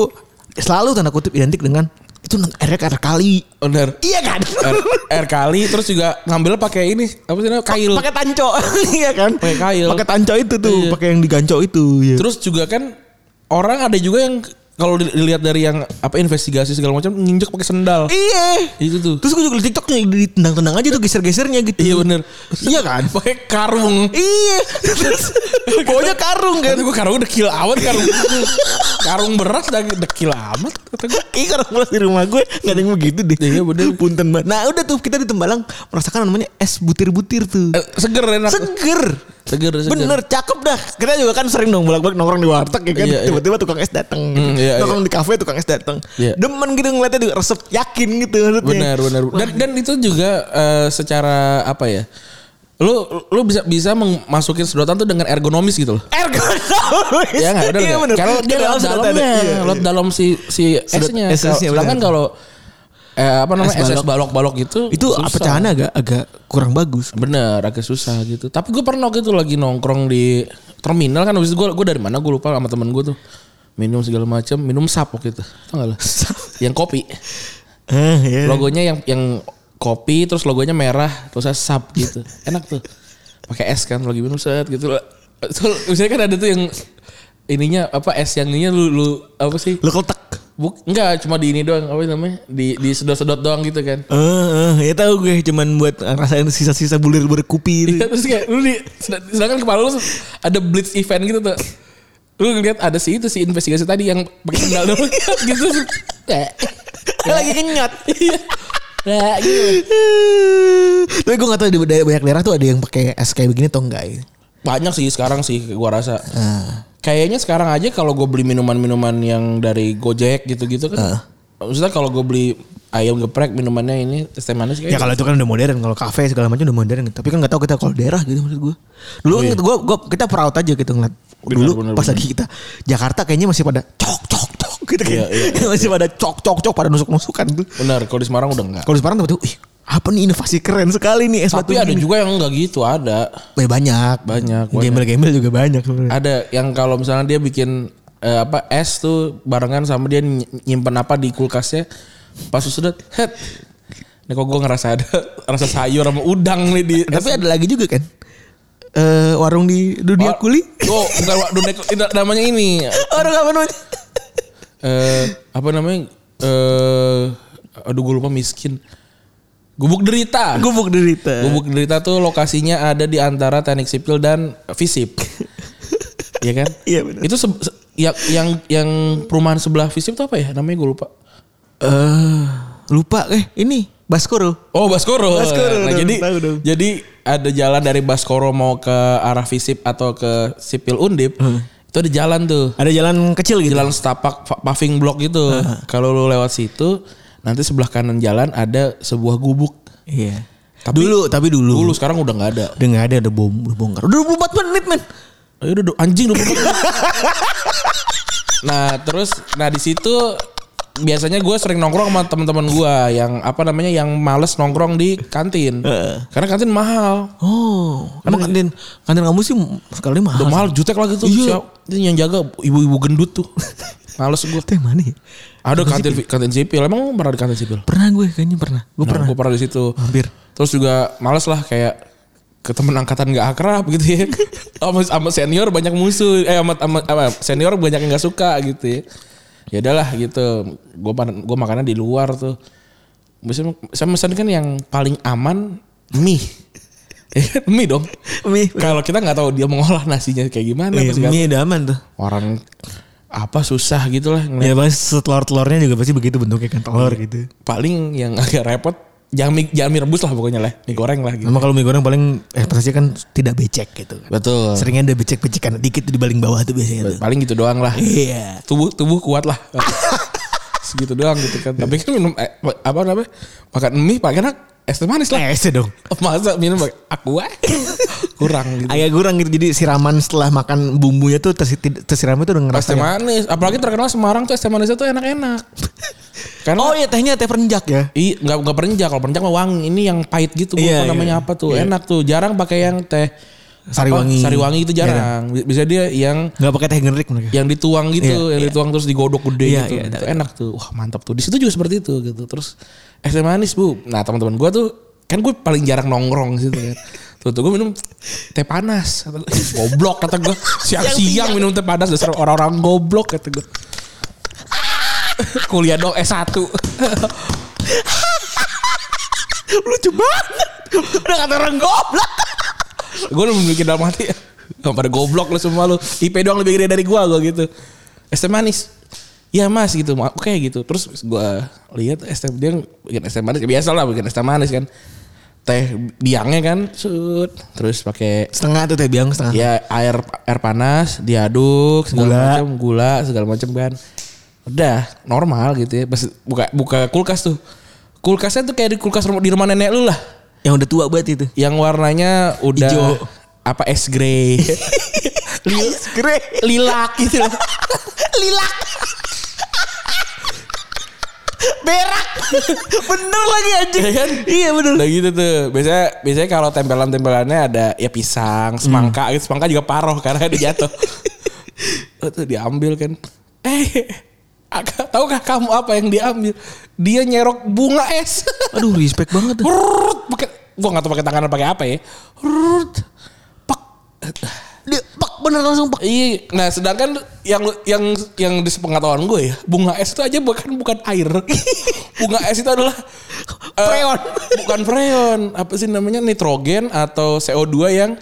Speaker 3: selalu tanda kutip identik dengan itu airnya karena kali.
Speaker 2: Oh, Benar.
Speaker 3: Iya kan?
Speaker 2: air, air kali terus juga ngambil pakai ini apa sih namanya kail
Speaker 3: Pakai tanco. iya kan?
Speaker 2: Pakai kail.
Speaker 3: Pakai tanco itu tuh,
Speaker 2: Iya.
Speaker 3: pakai yang diganco itu. Iya.
Speaker 2: terus juga kan orang ada juga yang kalau dili- dilihat dari yang apa investigasi segala macam nginjek pakai sendal
Speaker 3: Iya.
Speaker 2: itu tuh
Speaker 3: Terus gue juga di TikTok nih ditendang-tendang aja tuh geser-gesernya gitu.
Speaker 2: iya bener
Speaker 3: Iya kan?
Speaker 2: pakai karung
Speaker 3: Iya. Terus bawanya karung kan.
Speaker 2: kata gue karung dekil awet karung karung beras dah dekil amat kata gue
Speaker 3: Iya karena pulas di rumah gue Gak ada yang begitu deh
Speaker 2: Iya, bener.
Speaker 3: Punten banget Nah udah tuh kita di Tembalang Merasakan namanya es butir-butir tuh
Speaker 2: Eh, seger enak
Speaker 3: Seger
Speaker 2: seger seger
Speaker 3: Bener cakep dah Kita juga kan sering dong bolak-balik nongkrong di warteg ya kan
Speaker 2: Iya, iya.
Speaker 3: Tiba-tiba tukang es dateng gitu.
Speaker 2: Hmm, iya,
Speaker 3: Nongkrong di kafe tukang es dateng
Speaker 2: Iya.
Speaker 3: Demen gitu ngeliatnya juga resep Yakin gitu maksudnya
Speaker 2: benar benar dan dan itu juga eh, secara apa ya lu lu bisa bisa masukin sedotan tuh dengan ergonomis gitu loh
Speaker 3: Ergonomis
Speaker 2: Iya nggak benar nggak? Kalau dia lewat dalamnya,
Speaker 3: iya,
Speaker 2: lewat dalam si si
Speaker 3: Sedot-
Speaker 2: esnya.
Speaker 3: esnya,
Speaker 2: Kalau- Sedangkan
Speaker 3: benar.
Speaker 2: kalau eh, apa namanya
Speaker 3: Es
Speaker 2: es
Speaker 3: balok.
Speaker 2: es balok-balok gitu
Speaker 3: Itu
Speaker 2: susah.
Speaker 3: pecahannya agak agak kurang bagus
Speaker 2: Bener, agak susah gitu. Tapi gue pernah waktu itu lagi nongkrong di terminal kan habis itu gue gue dari mana gue lupa sama temen gue tuh minum segala macam minum sap waktu itu tau gak lo yang kopi
Speaker 3: Eh, iya.
Speaker 2: logonya yang yang kopi terus logonya merah terus sap gitu enak tuh pakai es kan lagi minum set gitu so, misalnya kan ada tuh yang ininya apa es yang ininya lu, lu apa sih
Speaker 3: Lo kotak
Speaker 2: Buk, enggak cuma di ini doang apa namanya di di sedot-sedot doang gitu kan
Speaker 3: Eh, eh, ya tahu gue cuman buat ngerasain sisa-sisa bulir-bulir kupi itu.
Speaker 2: Ya, terus kayak lu di sedang- sedangkan kepala lu ada blitz event gitu tuh lu ngeliat ada si itu si investigasi tadi yang pakai sendal doang gitu terus, eh,
Speaker 3: Lagi kenyat.
Speaker 2: iya. Nah, gitu.
Speaker 3: Tapi gue gak tau di daerah- banyak daerah tuh ada yang pakai es kayak begini atau enggak ya. Ah.
Speaker 2: banyak sih sekarang sih gua rasa kayaknya sekarang aja kalau gue beli minuman-minuman yang dari Gojek gitu-gitu kan maksudnya kalau gue beli ayam geprek minumannya ini teh manis
Speaker 3: Ya
Speaker 2: kayak
Speaker 3: kalau itu kan udah modern, kalau kafe segala macam udah modern. Tapi kan nggak tahu kita kalau daerah gitu maksud gue. Dulu kan gua, gua- kita peraut aja gitu
Speaker 2: Oh,
Speaker 3: ngeliat.
Speaker 2: iya. Benar,
Speaker 3: Dulu
Speaker 2: benar,
Speaker 3: pas
Speaker 2: benar.
Speaker 3: lagi kita Jakarta kayaknya masih pada cok cok cok gitu kan.
Speaker 2: Iya, iya,
Speaker 3: Yang masih pada cok cok cok pada nusuk nusukan tuh.
Speaker 2: Benar, kalau di Semarang udah enggak.
Speaker 3: Kalau di Semarang tiba-tiba, ih apa nih inovasi keren sekali nih es batu.
Speaker 2: Tapi ada
Speaker 3: gini."
Speaker 2: juga yang enggak gitu, ada.
Speaker 3: Eh, banyak.
Speaker 2: Banyak, banyak.
Speaker 3: Gembel-gembel juga banyak sebenarnya.
Speaker 2: Ada yang kalau misalnya dia bikin eh, apa es tuh barengan sama dia ny- nyimpen apa di kulkasnya pas sudah head. Ini kok gue ngerasa ada rasa sayur sama udang nih di
Speaker 3: Tapi ada lagi juga kan. Eh warung di dunia kuli.
Speaker 2: Oh, bukan Wak. dunia ini namanya ini.
Speaker 3: Warung apa namanya?
Speaker 2: Eh, apa namanya? Eh, aduh gue lupa miskin. Gubuk derita.
Speaker 3: Gubuk derita.
Speaker 2: Gubuk derita tuh lokasinya ada di antara teknik sipil dan visip. Iya kan?
Speaker 3: Iya benar.
Speaker 2: Itu se- se- yang yang yang perumahan sebelah visip tuh apa ya? Namanya gue lupa.
Speaker 3: Eh lupa eh ini Baskoro.
Speaker 2: Oh Baskoro.
Speaker 3: Baskoro,
Speaker 2: Nah,
Speaker 3: udah
Speaker 2: jadi
Speaker 3: tahu dong.
Speaker 2: jadi ada jalan dari Baskoro mau ke arah Visip atau ke Sipil Undip. Itu ada jalan tuh.
Speaker 3: Ada jalan kecil gitu.
Speaker 2: jalan setapak fa- paving block gitu. Kalau lu lewat situ, nanti sebelah kanan jalan ada sebuah gubuk.
Speaker 3: Iya. dulu tapi dulu.
Speaker 2: Dulu sekarang udah nggak ada.
Speaker 3: Udah gak ada udah bom udah bongkar. Udah 24 menit men.
Speaker 2: Ayo Oh, iya udah do- anjing 24. nah, terus nah di situ biasanya gue sering nongkrong sama teman-teman gue yang apa namanya yang males nongkrong di kantin.
Speaker 3: Heeh.
Speaker 2: Karena kantin mahal.
Speaker 3: Oh, karena kantin kantin kamu sih sekali mahal.
Speaker 2: Udah mahal jutek lagi tuh.
Speaker 3: Iya.
Speaker 2: Siap. Itu yang jaga ibu-ibu gendut tuh. Males gue.
Speaker 3: Itu yang mana ya?
Speaker 2: Ada kantin kantin sipil. Emang pernah di kantin sipil?
Speaker 3: Pernah gue kayaknya pernah. Gue
Speaker 2: Nah,
Speaker 3: pernah.
Speaker 2: Gue pernah di situ.
Speaker 3: Hampir.
Speaker 2: Terus juga males lah kayak ke temen angkatan gak akrab gitu ya. Sama, sama senior banyak musuh. Eh sama, sama- sama senior banyak yang gak suka gitu ya. Ya udahlah gitu. Gue gue makannya di luar tuh. Biasanya saya pesan kan yang paling aman mie. Ya kan, mie dong.
Speaker 3: Mie.
Speaker 2: Kalau kita nggak tahu dia mengolah nasinya kayak gimana.
Speaker 3: Iya,
Speaker 2: pasti kan.
Speaker 3: mie udah aman tuh.
Speaker 2: Orang apa susah gitu lah. ngeliat.
Speaker 3: Ya pasti telur-telurnya juga pasti begitu bentuknya kan telur
Speaker 2: Iya.
Speaker 3: gitu.
Speaker 2: Paling yang agak repot jangan mie, jangan mie rebus lah pokoknya lah. Mie goreng lah gitu.
Speaker 3: Memang kalau mie goreng paling ekspektasinya kan tidak becek gitu.
Speaker 2: Betul.
Speaker 3: Seringnya ada becek-becekan dikit di baling bawah tuh biasanya tuh.
Speaker 2: paling gitu doang lah
Speaker 3: Iya.
Speaker 2: tubuh tubuh kuat lah segitu doang gitu kan tapi kan minum eh, apa namanya makan mie pakai enak es teh manis lah
Speaker 3: Eh, sih dong.
Speaker 2: masa minum pakai aqua kurang gitu
Speaker 3: Agak kurang gitu jadi siraman setelah makan bumbunya tuh tersi- tersiramnya tuh udah
Speaker 2: es
Speaker 3: ngerasa.
Speaker 2: teh manis apalagi terkenal Semarang tuh es teh manisnya tuh enak-enak karena
Speaker 3: Oh iya tehnya teh perenjak ya.
Speaker 2: Iya, nggak nggak perenjak kalau perenjak mah wangi ini yang pahit gitu gua
Speaker 3: Iya,
Speaker 2: lupa namanya
Speaker 3: iya.
Speaker 2: apa tuh
Speaker 3: Iya.
Speaker 2: enak tuh jarang pakai yang teh
Speaker 3: Sari
Speaker 2: apa,
Speaker 3: wangi.
Speaker 2: sari wangi itu jarang bisa dia yang
Speaker 3: Nggak pakai teh generik mereka.
Speaker 2: yang dituang gitu,
Speaker 3: Iya,
Speaker 2: yang
Speaker 3: iya.
Speaker 2: dituang terus digodok gede
Speaker 3: Iya,
Speaker 2: gitu.
Speaker 3: iya,
Speaker 2: Itu enak tuh. Wah, mantap tuh. Di situ juga seperti itu gitu. Terus es teh manis, Bu. Nah, teman-teman gua tuh kan gue paling jarang nongkrong gitu kan. Tuh, tuh gue minum teh panas. Kata gua, goblok kata gue. Siang-siang minum teh panas dasar orang-orang goblok kata gue. Kuliah dong S1.
Speaker 3: Lucu banget. Udah kata orang goblak.
Speaker 2: gue udah memiliki dalam hati. "Gak Pada goblok lu semua lu. IP doang lebih gede dari gua gua gitu. Es teh manis. Ya mas gitu. Ma- Oke gitu. Terus gua lihat es teh dia bikin es teh manis. Ya, Biasa lah bikin es teh manis kan. Teh biangnya kan. Sut. Terus pakai
Speaker 3: Setengah tuh teh biang setengah.
Speaker 2: ya air air panas diaduk
Speaker 3: Gula.
Speaker 2: segala macam gula segala macam kan udah normal gitu ya pas buka buka kulkas tuh kulkasnya tuh kayak di kulkas rumah, di rumah nenek lu lah
Speaker 3: Yang udah tua banget itu.
Speaker 2: yang warnanya udah
Speaker 3: Ijo.
Speaker 2: apa es grey Lil-
Speaker 3: Keren.
Speaker 2: lilak gitu loh.
Speaker 3: Lilak. Berak. Bener lagi anjing.
Speaker 2: Iya kan?
Speaker 3: Iya bener.
Speaker 2: udah gitu tuh biasanya biasanya kalau tempelan-tempelannya ada ya pisang
Speaker 3: Hmm.
Speaker 2: semangka gitu semangka juga paroh karena dia jatuh Oh, tuh diambil kan eh agak tahukah kamu apa yang diambil dia nyerok bunga es
Speaker 3: Aduh respect banget.
Speaker 2: Rrrt, pakai gua nggak tahu pakai tangan atau pakai apa ya Rrrt, pak
Speaker 3: Dia pak bener langsung pak.
Speaker 2: Iya, nah sedangkan yang yang yang di sepengetahuan gue ya, bunga es itu aja bukan bukan air. bunga es itu adalah eh,
Speaker 3: Freon.
Speaker 2: bukan freon, apa sih namanya nitrogen atau CO2 yang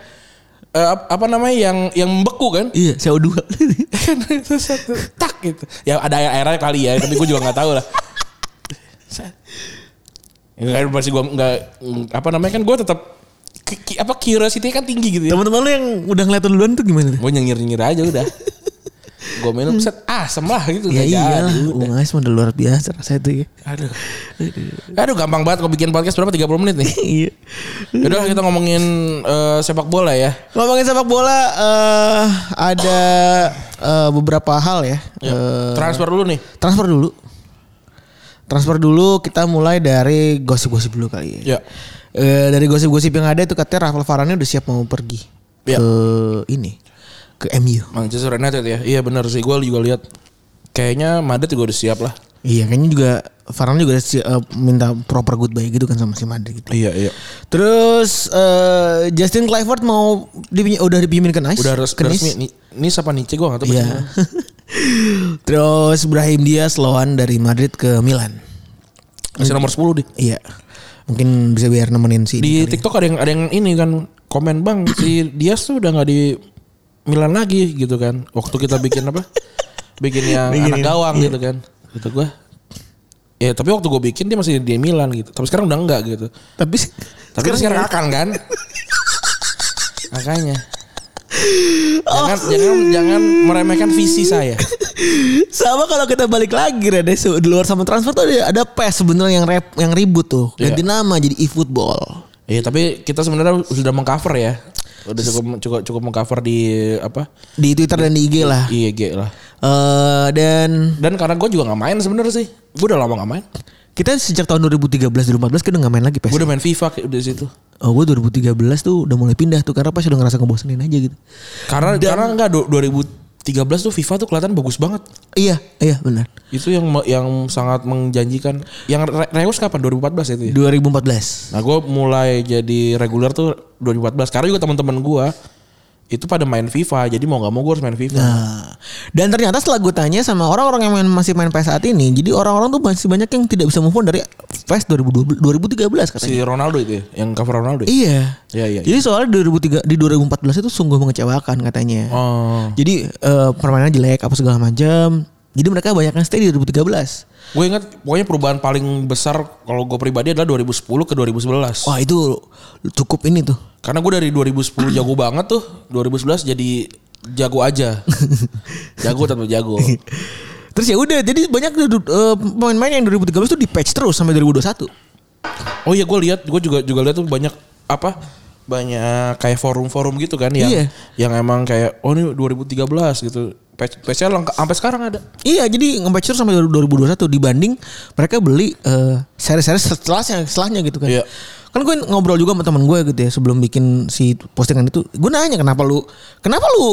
Speaker 2: eh, ap- apa namanya yang yang membeku kan?
Speaker 3: Iya CO2.
Speaker 2: Kan itu satu tak gitu. Ya ada air airnya kali ya, tapi gue juga nggak tahu lah. Sa- Ya, kan pasti gue nggak apa namanya kan gue tetap ki- ki- apa curiosity kan tinggi gitu ya.
Speaker 3: Teman-teman lu yang udah ngeliat lu duluan tuh gimana? tuh?
Speaker 2: Gue nyengir nyengir aja udah. Gue minum set asem lah gitu.
Speaker 3: ya
Speaker 2: Nggak
Speaker 3: iyalah,
Speaker 2: jadi.
Speaker 3: Bung Ais udah luar biasa rasanya tuh ya.
Speaker 2: Aduh. Aduh gampang banget kalau bikin podcast berapa 30 menit nih.
Speaker 3: Iya.
Speaker 2: Yaudah kita ngomongin eh, sepak bola ya.
Speaker 3: Ngomongin sepak bola eh ada eh, beberapa hal ya. Eh,
Speaker 2: Transfer dulu nih.
Speaker 3: transfer dulu. Transfer dulu kita mulai dari gosip-gosip dulu kali ya.
Speaker 2: Ya.
Speaker 3: Eh, dari gosip-gosip yang ada itu katanya Rafael Varane udah siap mau pergi
Speaker 2: Ya.
Speaker 3: ke ini ke MU.
Speaker 2: Manchester United ya. Iya benar sih. Gue juga lihat. Kayaknya Madrid juga udah siap lah.
Speaker 3: Iya, kayaknya juga Varane juga si- eh, minta proper goodbye gitu kan sama si Madrid gitu.
Speaker 2: Iya iya.
Speaker 3: Terus eh, Justin Clifford mau dipinj- udah dipinjemin ke Nice.
Speaker 2: Udah, res
Speaker 3: ke
Speaker 2: udah
Speaker 3: Nice.
Speaker 2: resmi. Ni, ini siapa Nice gue gak tau.
Speaker 3: Iya. Terus Brahim Diaz lawan dari Madrid ke Milan.
Speaker 2: Masih nomor 10 deh.
Speaker 3: Iya. Mungkin bisa biar nemenin
Speaker 2: Di
Speaker 3: si ini kali.
Speaker 2: TikTok ada yang ada yang ini kan komen bang si Dias tuh udah nggak di Milan lagi gitu kan. Waktu kita bikin apa? Bikin yang anak gawang gitu kan. Gitu gua. Ya tapi waktu gue bikin dia masih di Milan gitu. Tapi sekarang udah enggak gitu.
Speaker 3: Tapi
Speaker 2: Tapi sekarang, sekarang akan kan? Makanya. Jangan, jangan jangan meremehkan visi saya.
Speaker 3: sama kalau kita balik lagi Rade se- di luar sama transfer tuh ada, ada PES sebenarnya yang rep, yang ribut tuh. Ganti nama jadi eFootball.
Speaker 2: Iya, tapi kita sebenarnya sudah mengcover ya. Udah cukup cukup cukup mengcover di apa?
Speaker 3: Di Twitter dan di IG lah.
Speaker 2: IG lah.
Speaker 3: Eh, dan
Speaker 2: Dan karena gue juga nggak main sebenarnya sih. Gue udah lama nggak main.
Speaker 3: kita sejak tahun 2013 2014 kita udah gak main lagi PES.
Speaker 2: Gue udah main FIFA kayak udah situ.
Speaker 3: Oh gue 2013 tuh udah mulai pindah tuh karena pas udah ngerasa ngebosenin aja gitu.
Speaker 2: Karena karena enggak du- 2013 tuh FIFA tuh kelihatan bagus banget.
Speaker 3: Iya, iya benar.
Speaker 2: Itu yang me- yang sangat menjanjikan. Yang Re- Reus kapan? 2014 itu ya.
Speaker 3: 2014.
Speaker 2: Nah, gue mulai jadi reguler tuh 2014. Karena juga teman-teman gue itu pada main FIFA, jadi mau nggak mau gue harus main FIFA.
Speaker 3: Nah, dan ternyata setelah gue tanya sama orang-orang yang main, masih main PES saat ini, jadi orang-orang tuh masih banyak yang tidak bisa move on dari E PES 2012, 2013
Speaker 2: Si
Speaker 3: katanya.
Speaker 2: Ronaldo itu ya, yang cover Ronaldo. Ya?
Speaker 3: Iya.
Speaker 2: Iya, iya,
Speaker 3: Jadi soalnya 2003 di 2014 itu sungguh mengecewakan katanya.
Speaker 2: Oh.
Speaker 3: Jadi eh, permainan jelek apa segala macam. Jadi mereka banyak yang stay di 2013.
Speaker 2: Gue ingat pokoknya perubahan paling besar kalau gue pribadi adalah 2010 ke 2011.
Speaker 3: Wah itu cukup ini tuh.
Speaker 2: Karena gue dari 2010 jago banget tuh, 2011 jadi jago aja. jago tetap jago.
Speaker 3: Terus ya udah, jadi banyak eh, pemain-pemain yang 2013 tuh di patch terus sampai 2021.
Speaker 2: Oh iya gue lihat, gue juga juga lihat tuh banyak apa? Banyak kayak forum-forum gitu kan yang
Speaker 3: Iya.
Speaker 2: yang emang kayak oh ini 2013 gitu. Patch patchnya lengkap sampai sekarang ada.
Speaker 3: Iya, jadi nge-patch terus sampai 2021 dibanding mereka beli eh, seri-seri setelah setelahnya gitu kan.
Speaker 2: Iya.
Speaker 3: Kan gue ngobrol juga sama teman gue gitu ya sebelum bikin si postingan itu. Gue nanya kenapa lu kenapa lu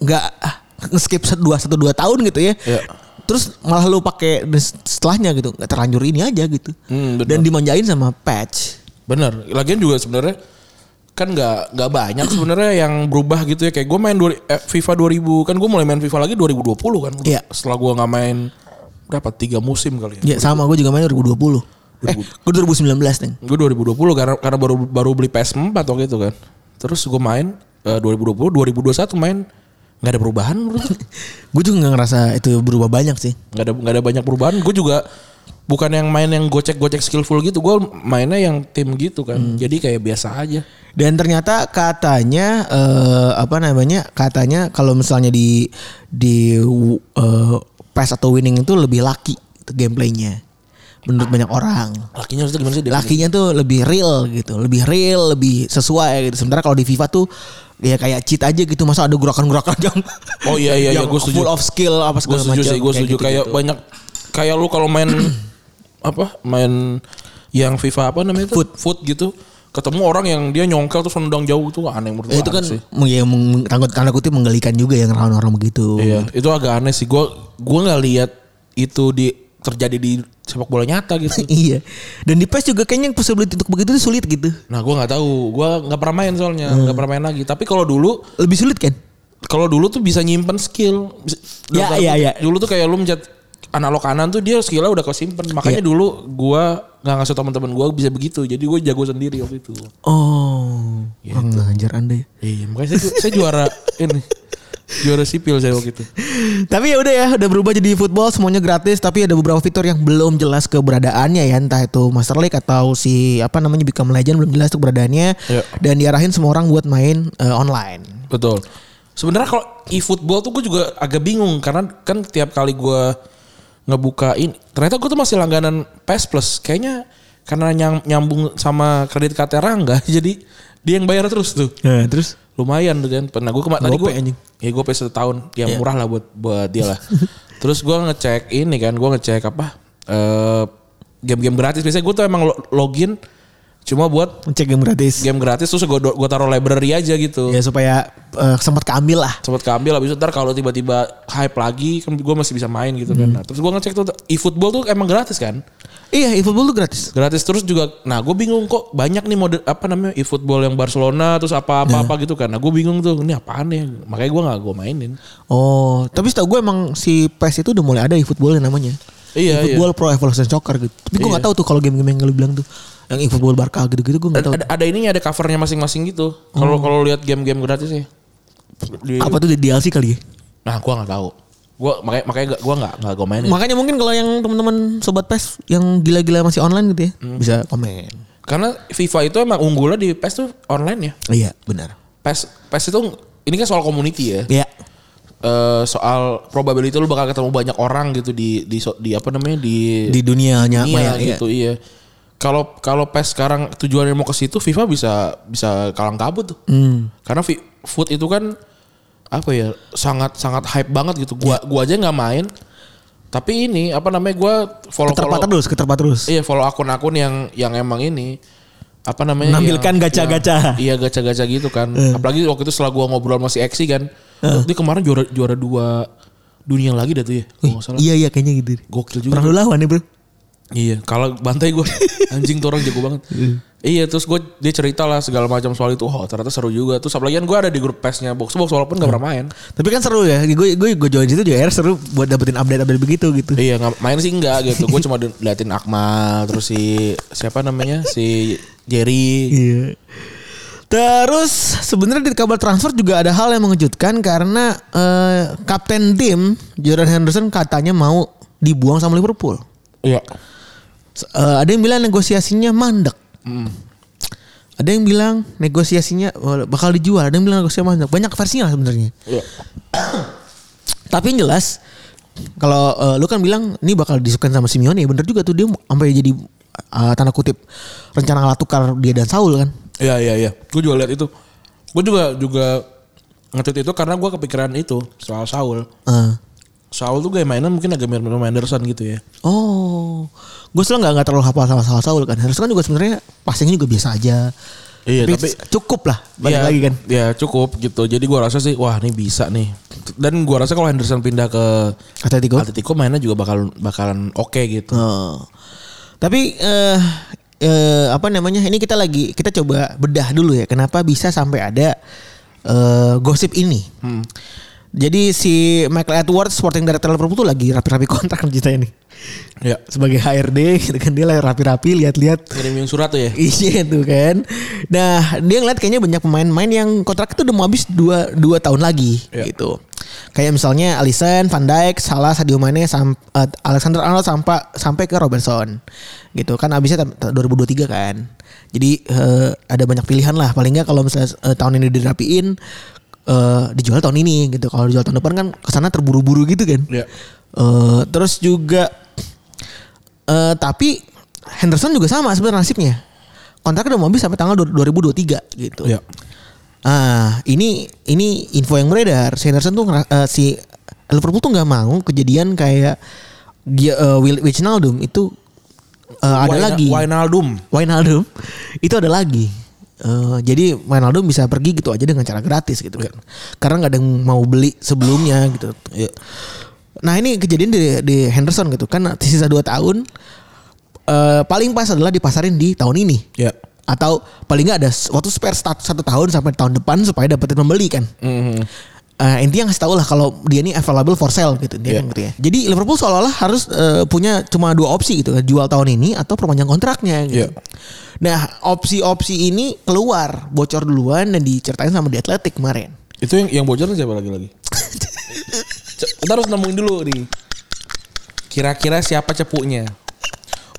Speaker 3: nggak ah, nge-skip 2 1 2 tahun gitu ya.
Speaker 2: Iya.
Speaker 3: Terus malah lu pakai setelahnya gitu, nggak terlanjur ini aja gitu.
Speaker 2: Hmm, benar.
Speaker 3: Dan dimanjain sama patch.
Speaker 2: Bener. Lagian juga sebenarnya kan nggak nggak banyak sebenarnya yang berubah gitu ya kayak gue main dua, eh, FIFA 2000 kan gue mulai main FIFA lagi 2020 kan
Speaker 3: Iya.
Speaker 2: setelah gue nggak main berapa tiga musim kali ya
Speaker 3: Iya, sama gue juga main 2020. Eh, gue 2019 nih.
Speaker 2: Gue 2020 karena karena baru baru beli PS4 waktu itu kan. Terus gue main eh, 2020, 2021 main nggak ada perubahan menurut gue.
Speaker 3: Gue juga nggak ngerasa itu berubah banyak sih.
Speaker 2: Nggak ada nggak ada banyak perubahan. Gue juga bukan yang main yang gocek-gocek skillful gitu. Gue mainnya yang tim gitu kan.
Speaker 3: Hmm.
Speaker 2: Jadi kayak biasa aja.
Speaker 3: Dan ternyata katanya eh, apa namanya? Katanya kalau misalnya di di eh, pass atau winning itu lebih laki itu gameplaynya menurut banyak orang.
Speaker 2: Lakinya itu gimana sih? Dia?
Speaker 3: Lakinya tuh lebih real gitu, lebih real, lebih sesuai gitu. Sementara kalau di FIFA tuh ya kayak cheat aja gitu, masa ada gerakan-gerakan yang
Speaker 2: Oh iya iya iya
Speaker 3: yang
Speaker 2: gue setuju.
Speaker 3: full of skill apa
Speaker 2: Gue
Speaker 3: segala
Speaker 2: setuju
Speaker 3: macam.
Speaker 2: sih, gue setuju kayak
Speaker 3: gitu-gitu.
Speaker 2: banyak kayak lu kalau main apa? Main yang FIFA apa namanya itu? Foot, foot gitu. Ketemu orang yang dia nyongkel terus nendang jauh itu aneh menurut
Speaker 3: Ya,
Speaker 2: gue.
Speaker 3: itu
Speaker 2: aneh
Speaker 3: kan
Speaker 2: sih.
Speaker 3: meng- ya, meng- tanda tanda kutip menggelikan juga yang gitu. ngelawan orang begitu.
Speaker 2: Iya, itu agak aneh sih. Gue gua nggak lihat itu di terjadi di sepak bola nyata gitu.
Speaker 3: iya. Dan di PES juga kayaknya possibility untuk begitu tuh sulit gitu.
Speaker 2: Nah, gua nggak tahu. Gua nggak pernah main soalnya, nggak pernah main lagi. Tapi kalau dulu,
Speaker 3: Lebih sulit kan?
Speaker 2: kalau dulu tuh bisa nyimpen skill. Bisa-
Speaker 3: Ya,
Speaker 2: Dulu-
Speaker 3: ya, ya.
Speaker 2: Dulu tuh kayak lu mencet analog kanan tuh dia skillnya udah kesimpan. Makanya dulu gua nggak ngasih teman-teman gua bisa begitu. Jadi gue jago sendiri waktu itu.
Speaker 3: Oh. Orang ngajar Anda ya.
Speaker 2: Iya, makanya saya, ju- saya juara ini. Juara sipil saya waktu itu.
Speaker 3: Tapi ya udah ya, udah berubah jadi football semuanya gratis tapi ada beberapa fitur yang belum jelas keberadaannya ya, entah itu Master League atau si apa namanya Become Legend belum jelas tuh keberadaannya
Speaker 2: Iya.
Speaker 3: dan diarahin semua orang buat main eh, online.
Speaker 2: Betul. Sebenarnya kalau e-football tuh gue juga agak bingung karena kan tiap kali gue ngebukain ternyata gue tuh masih langganan PES Plus. Kayaknya karena nyam- nyambung sama kredit KT Rangga jadi dia yang bayar terus tuh.
Speaker 4: Nah, terus
Speaker 2: Lumayan tuh kan. Pernah gue kemarin tadi
Speaker 4: Gope
Speaker 2: gue
Speaker 4: anjing.
Speaker 2: Ya gue pay satu tahun. Ya murah lah buat buat dia lah. Terus gue ngecek ini kan, gue ngecek apa? eh game-game gratis. Biasanya gue tuh emang lo- login cuma buat
Speaker 4: cek game gratis.
Speaker 2: game gratis terus gue gue taruh library aja gitu.
Speaker 3: Ya supaya eh, sempat keambil lah.
Speaker 2: Sempat keambil habis itu ntar kalau tiba-tiba hype lagi kan gue masih bisa main gitu kan. Nah, terus gue ngecek tuh eFootball tuh emang gratis kan?
Speaker 4: Iya, e-football tuh gratis.
Speaker 2: Gratis terus juga nah gue bingung kok banyak nih mode apa namanya eFootball yang Barcelona terus apa-apa apa gitu kan. Nah, gue bingung tuh ini apaan ya? Makanya gue nggak gue mainin.
Speaker 3: Oh, tapi setahu gue emang si PES itu udah mulai ada e-football yang namanya.
Speaker 2: Iya,
Speaker 3: e-football Pro Evolution Soccer gitu. Tapi gue nggak tahu tuh kalau game-game yang lu bilang tuh yang e-football Barca gitu-gitu gue nggak tahu.
Speaker 2: Ada, ada ininya ada covernya masing-masing gitu. Kalau kalau lihat game-game gratis ya. Di-
Speaker 3: Apa tuh di DLC kali ya?
Speaker 2: nah, gue nggak tahu. Gue makanya makanya gue nggak nggak gue mainin.
Speaker 3: Makanya mungkin kalau yang teman-teman sobat PES yang gila-gila masih online gitu ya,
Speaker 2: Hmm.
Speaker 3: bisa komen.
Speaker 2: Karena FIFA itu emang unggulnya di PES tuh online ya.
Speaker 3: Iya, benar.
Speaker 2: PES PES itu ini kan soal community ya.
Speaker 3: Iya.
Speaker 2: Eh, soal probability lu bakal ketemu banyak orang gitu di di so- di apa namanya di
Speaker 3: Di dunianya
Speaker 2: dunia
Speaker 3: maya
Speaker 2: gitu iya. Kalau kalau PES sekarang tujuannya mau ke situ FIFA bisa bisa kalang kabut tuh. Karena fi- food itu kan apa ya sangat sangat hype banget gitu. Gua gua aja nggak main. Tapi ini apa namanya gua follow
Speaker 3: Keterpa
Speaker 2: follow
Speaker 3: terus, keterpa terus.
Speaker 2: Iya follow akun-akun yang yang emang ini apa namanya?
Speaker 3: Menampilkan
Speaker 2: yang-
Speaker 3: gacha-gacha.
Speaker 2: yang- Iya gacha-gacha gitu kan.
Speaker 3: Eh.
Speaker 2: Apalagi waktu itu setelah gua ngobrol sama si Exi kan. Dia kemarin juara juara dua dunia lagi dah tuh ya. Kalau nggak salah.
Speaker 3: Iya iya kayaknya gitu.
Speaker 2: Gokil juga.
Speaker 3: Pernah lu lawan ya, Bro?
Speaker 2: Iya, kalau bantai gua anjing tuh orang jago banget. iya, terus gue dia cerita lah segala macam soal itu. Oh, ternyata seru juga. Terus apalagi kan gue ada di grup pesnya box box walaupun gak pernah main.
Speaker 3: Tapi kan seru ya. Gue gue gue join situ juga akhirnya seru buat dapetin update-update begitu gitu.
Speaker 2: Iya nggak main sih enggak gitu. Gue cuma di- liatin Akmal terus si siapa namanya si Jerry.
Speaker 3: Iya. Terus sebenarnya di kabar transfer juga ada hal yang mengejutkan karena eh, kapten tim Jordan Henderson katanya mau dibuang sama Liverpool.
Speaker 2: Iya.
Speaker 3: S- eh, ada yang bilang negosiasinya mandek. Ada yang bilang negosiasinya eh, bakal dijual, ada yang bilang negosiasinya mandek. Banyak versinya lah sebenarnya.
Speaker 2: Iya.
Speaker 3: Tapi yang jelas kalau eh, lu kan bilang ini bakal disukain sama Simeone, bener juga tuh dia sampai jadi eh, tanda kutip rencana alat tukar dia dan Saul kan.
Speaker 2: Iya iya iya. Gue juga liat itu. Gue juga juga nge-tweet itu karena gue kepikiran itu soal Saul.
Speaker 3: Eh.
Speaker 2: Saul tuh gaya mainnya mungkin agak mirip sama Anderson gitu ya.
Speaker 3: Oh, gue selalu nggak nggak terlalu hafal sama Saul Saul kan. Harusnya kan juga sebenarnya passingnya juga biasa aja.
Speaker 2: Iya,
Speaker 3: tapi,
Speaker 2: tapi-
Speaker 3: cukup lah balik
Speaker 2: ya,
Speaker 3: lagi kan.
Speaker 2: Ya cukup gitu. Jadi gua rasa sih wah ini bisa nih. Dan gua rasa kalau Henderson pindah ke
Speaker 3: Atletico.
Speaker 2: Atletico mainnya juga bakal bakalan oke gitu.
Speaker 3: Oh. Tapi eh eh, apa namanya? Ini kita lagi kita coba bedah dulu ya. Kenapa bisa sampai ada eh, gosip ini? Jadi si Michael Edwards Sporting Director Liverpool tuh lagi rapi-rapi kontrak ceritanya nih.
Speaker 2: Ya.
Speaker 3: Sebagai HRD gitu kan dia lagi rapi-rapi lihat-lihat
Speaker 2: Ngirimin surat tuh ya.
Speaker 3: Iya tuh kan. Nah dia ngeliat kayaknya banyak pemain-pemain yang kontrak itu udah mau habis 2 dua tahun lagi
Speaker 2: Iya.
Speaker 3: gitu. Kayak misalnya Alisson, Van Dijk, Salah, Sadio Mane, sam- eh, Alexander Arnold sampai sampai ke Robertson gitu kan abisnya ta- ta- 2023 kan. Jadi eh, ada banyak pilihan lah. Paling nggak kalau misalnya eh, tahun ini dirapiin eh, dijual tahun ini gitu. Kalau dijual tahun depan kan kesana terburu-buru gitu kan.
Speaker 2: Iya.
Speaker 3: Eh, terus juga eh tapi Henderson juga sama sebenarnya nasibnya. Kontraknya udah mau habis sampai tanggal du- 2023 gitu.
Speaker 2: Iya.
Speaker 3: Ah, ini ini info yang beredar. Si Henderson tuh ngera- eh, si Liverpool tuh nggak mau kejadian kayak dia eh, Will Wijnaldum itu eh, ada
Speaker 2: Wijna-
Speaker 3: lagi.
Speaker 2: Wijnaldum.
Speaker 3: Wijnaldum itu ada lagi. Eh, jadi Wijnaldum bisa pergi gitu aja dengan cara gratis gitu kan. Karena nggak ada yang mau beli sebelumnya gitu. Nah ini kejadian di, di Henderson gitu kan sisa 2 tahun. eh, paling pas adalah dipasarin di tahun ini.
Speaker 2: Ya.
Speaker 3: Atau paling nggak ada s- waktu spare stat- satu tahun sampai tahun depan supaya dapetin pembeli kan.
Speaker 2: Mhm.
Speaker 3: Eh, intinya ngasih tau lah kalau dia ini available for sale gitu,
Speaker 2: Iya.
Speaker 3: dia kan gitu ya. Jadi Liverpool seolah-olah harus eh, punya cuma dua opsi gitu, kan. jual tahun ini atau perpanjang kontraknya gitu.
Speaker 2: Iya.
Speaker 3: Nah opsi-opsi ini keluar bocor duluan dan diceritain sama di Atletik kemarin.
Speaker 2: Itu yang yang bocoran siapa lagi lagi? Ce- Kita harus nemuin dulu nih. Kira-kira siapa cepunya?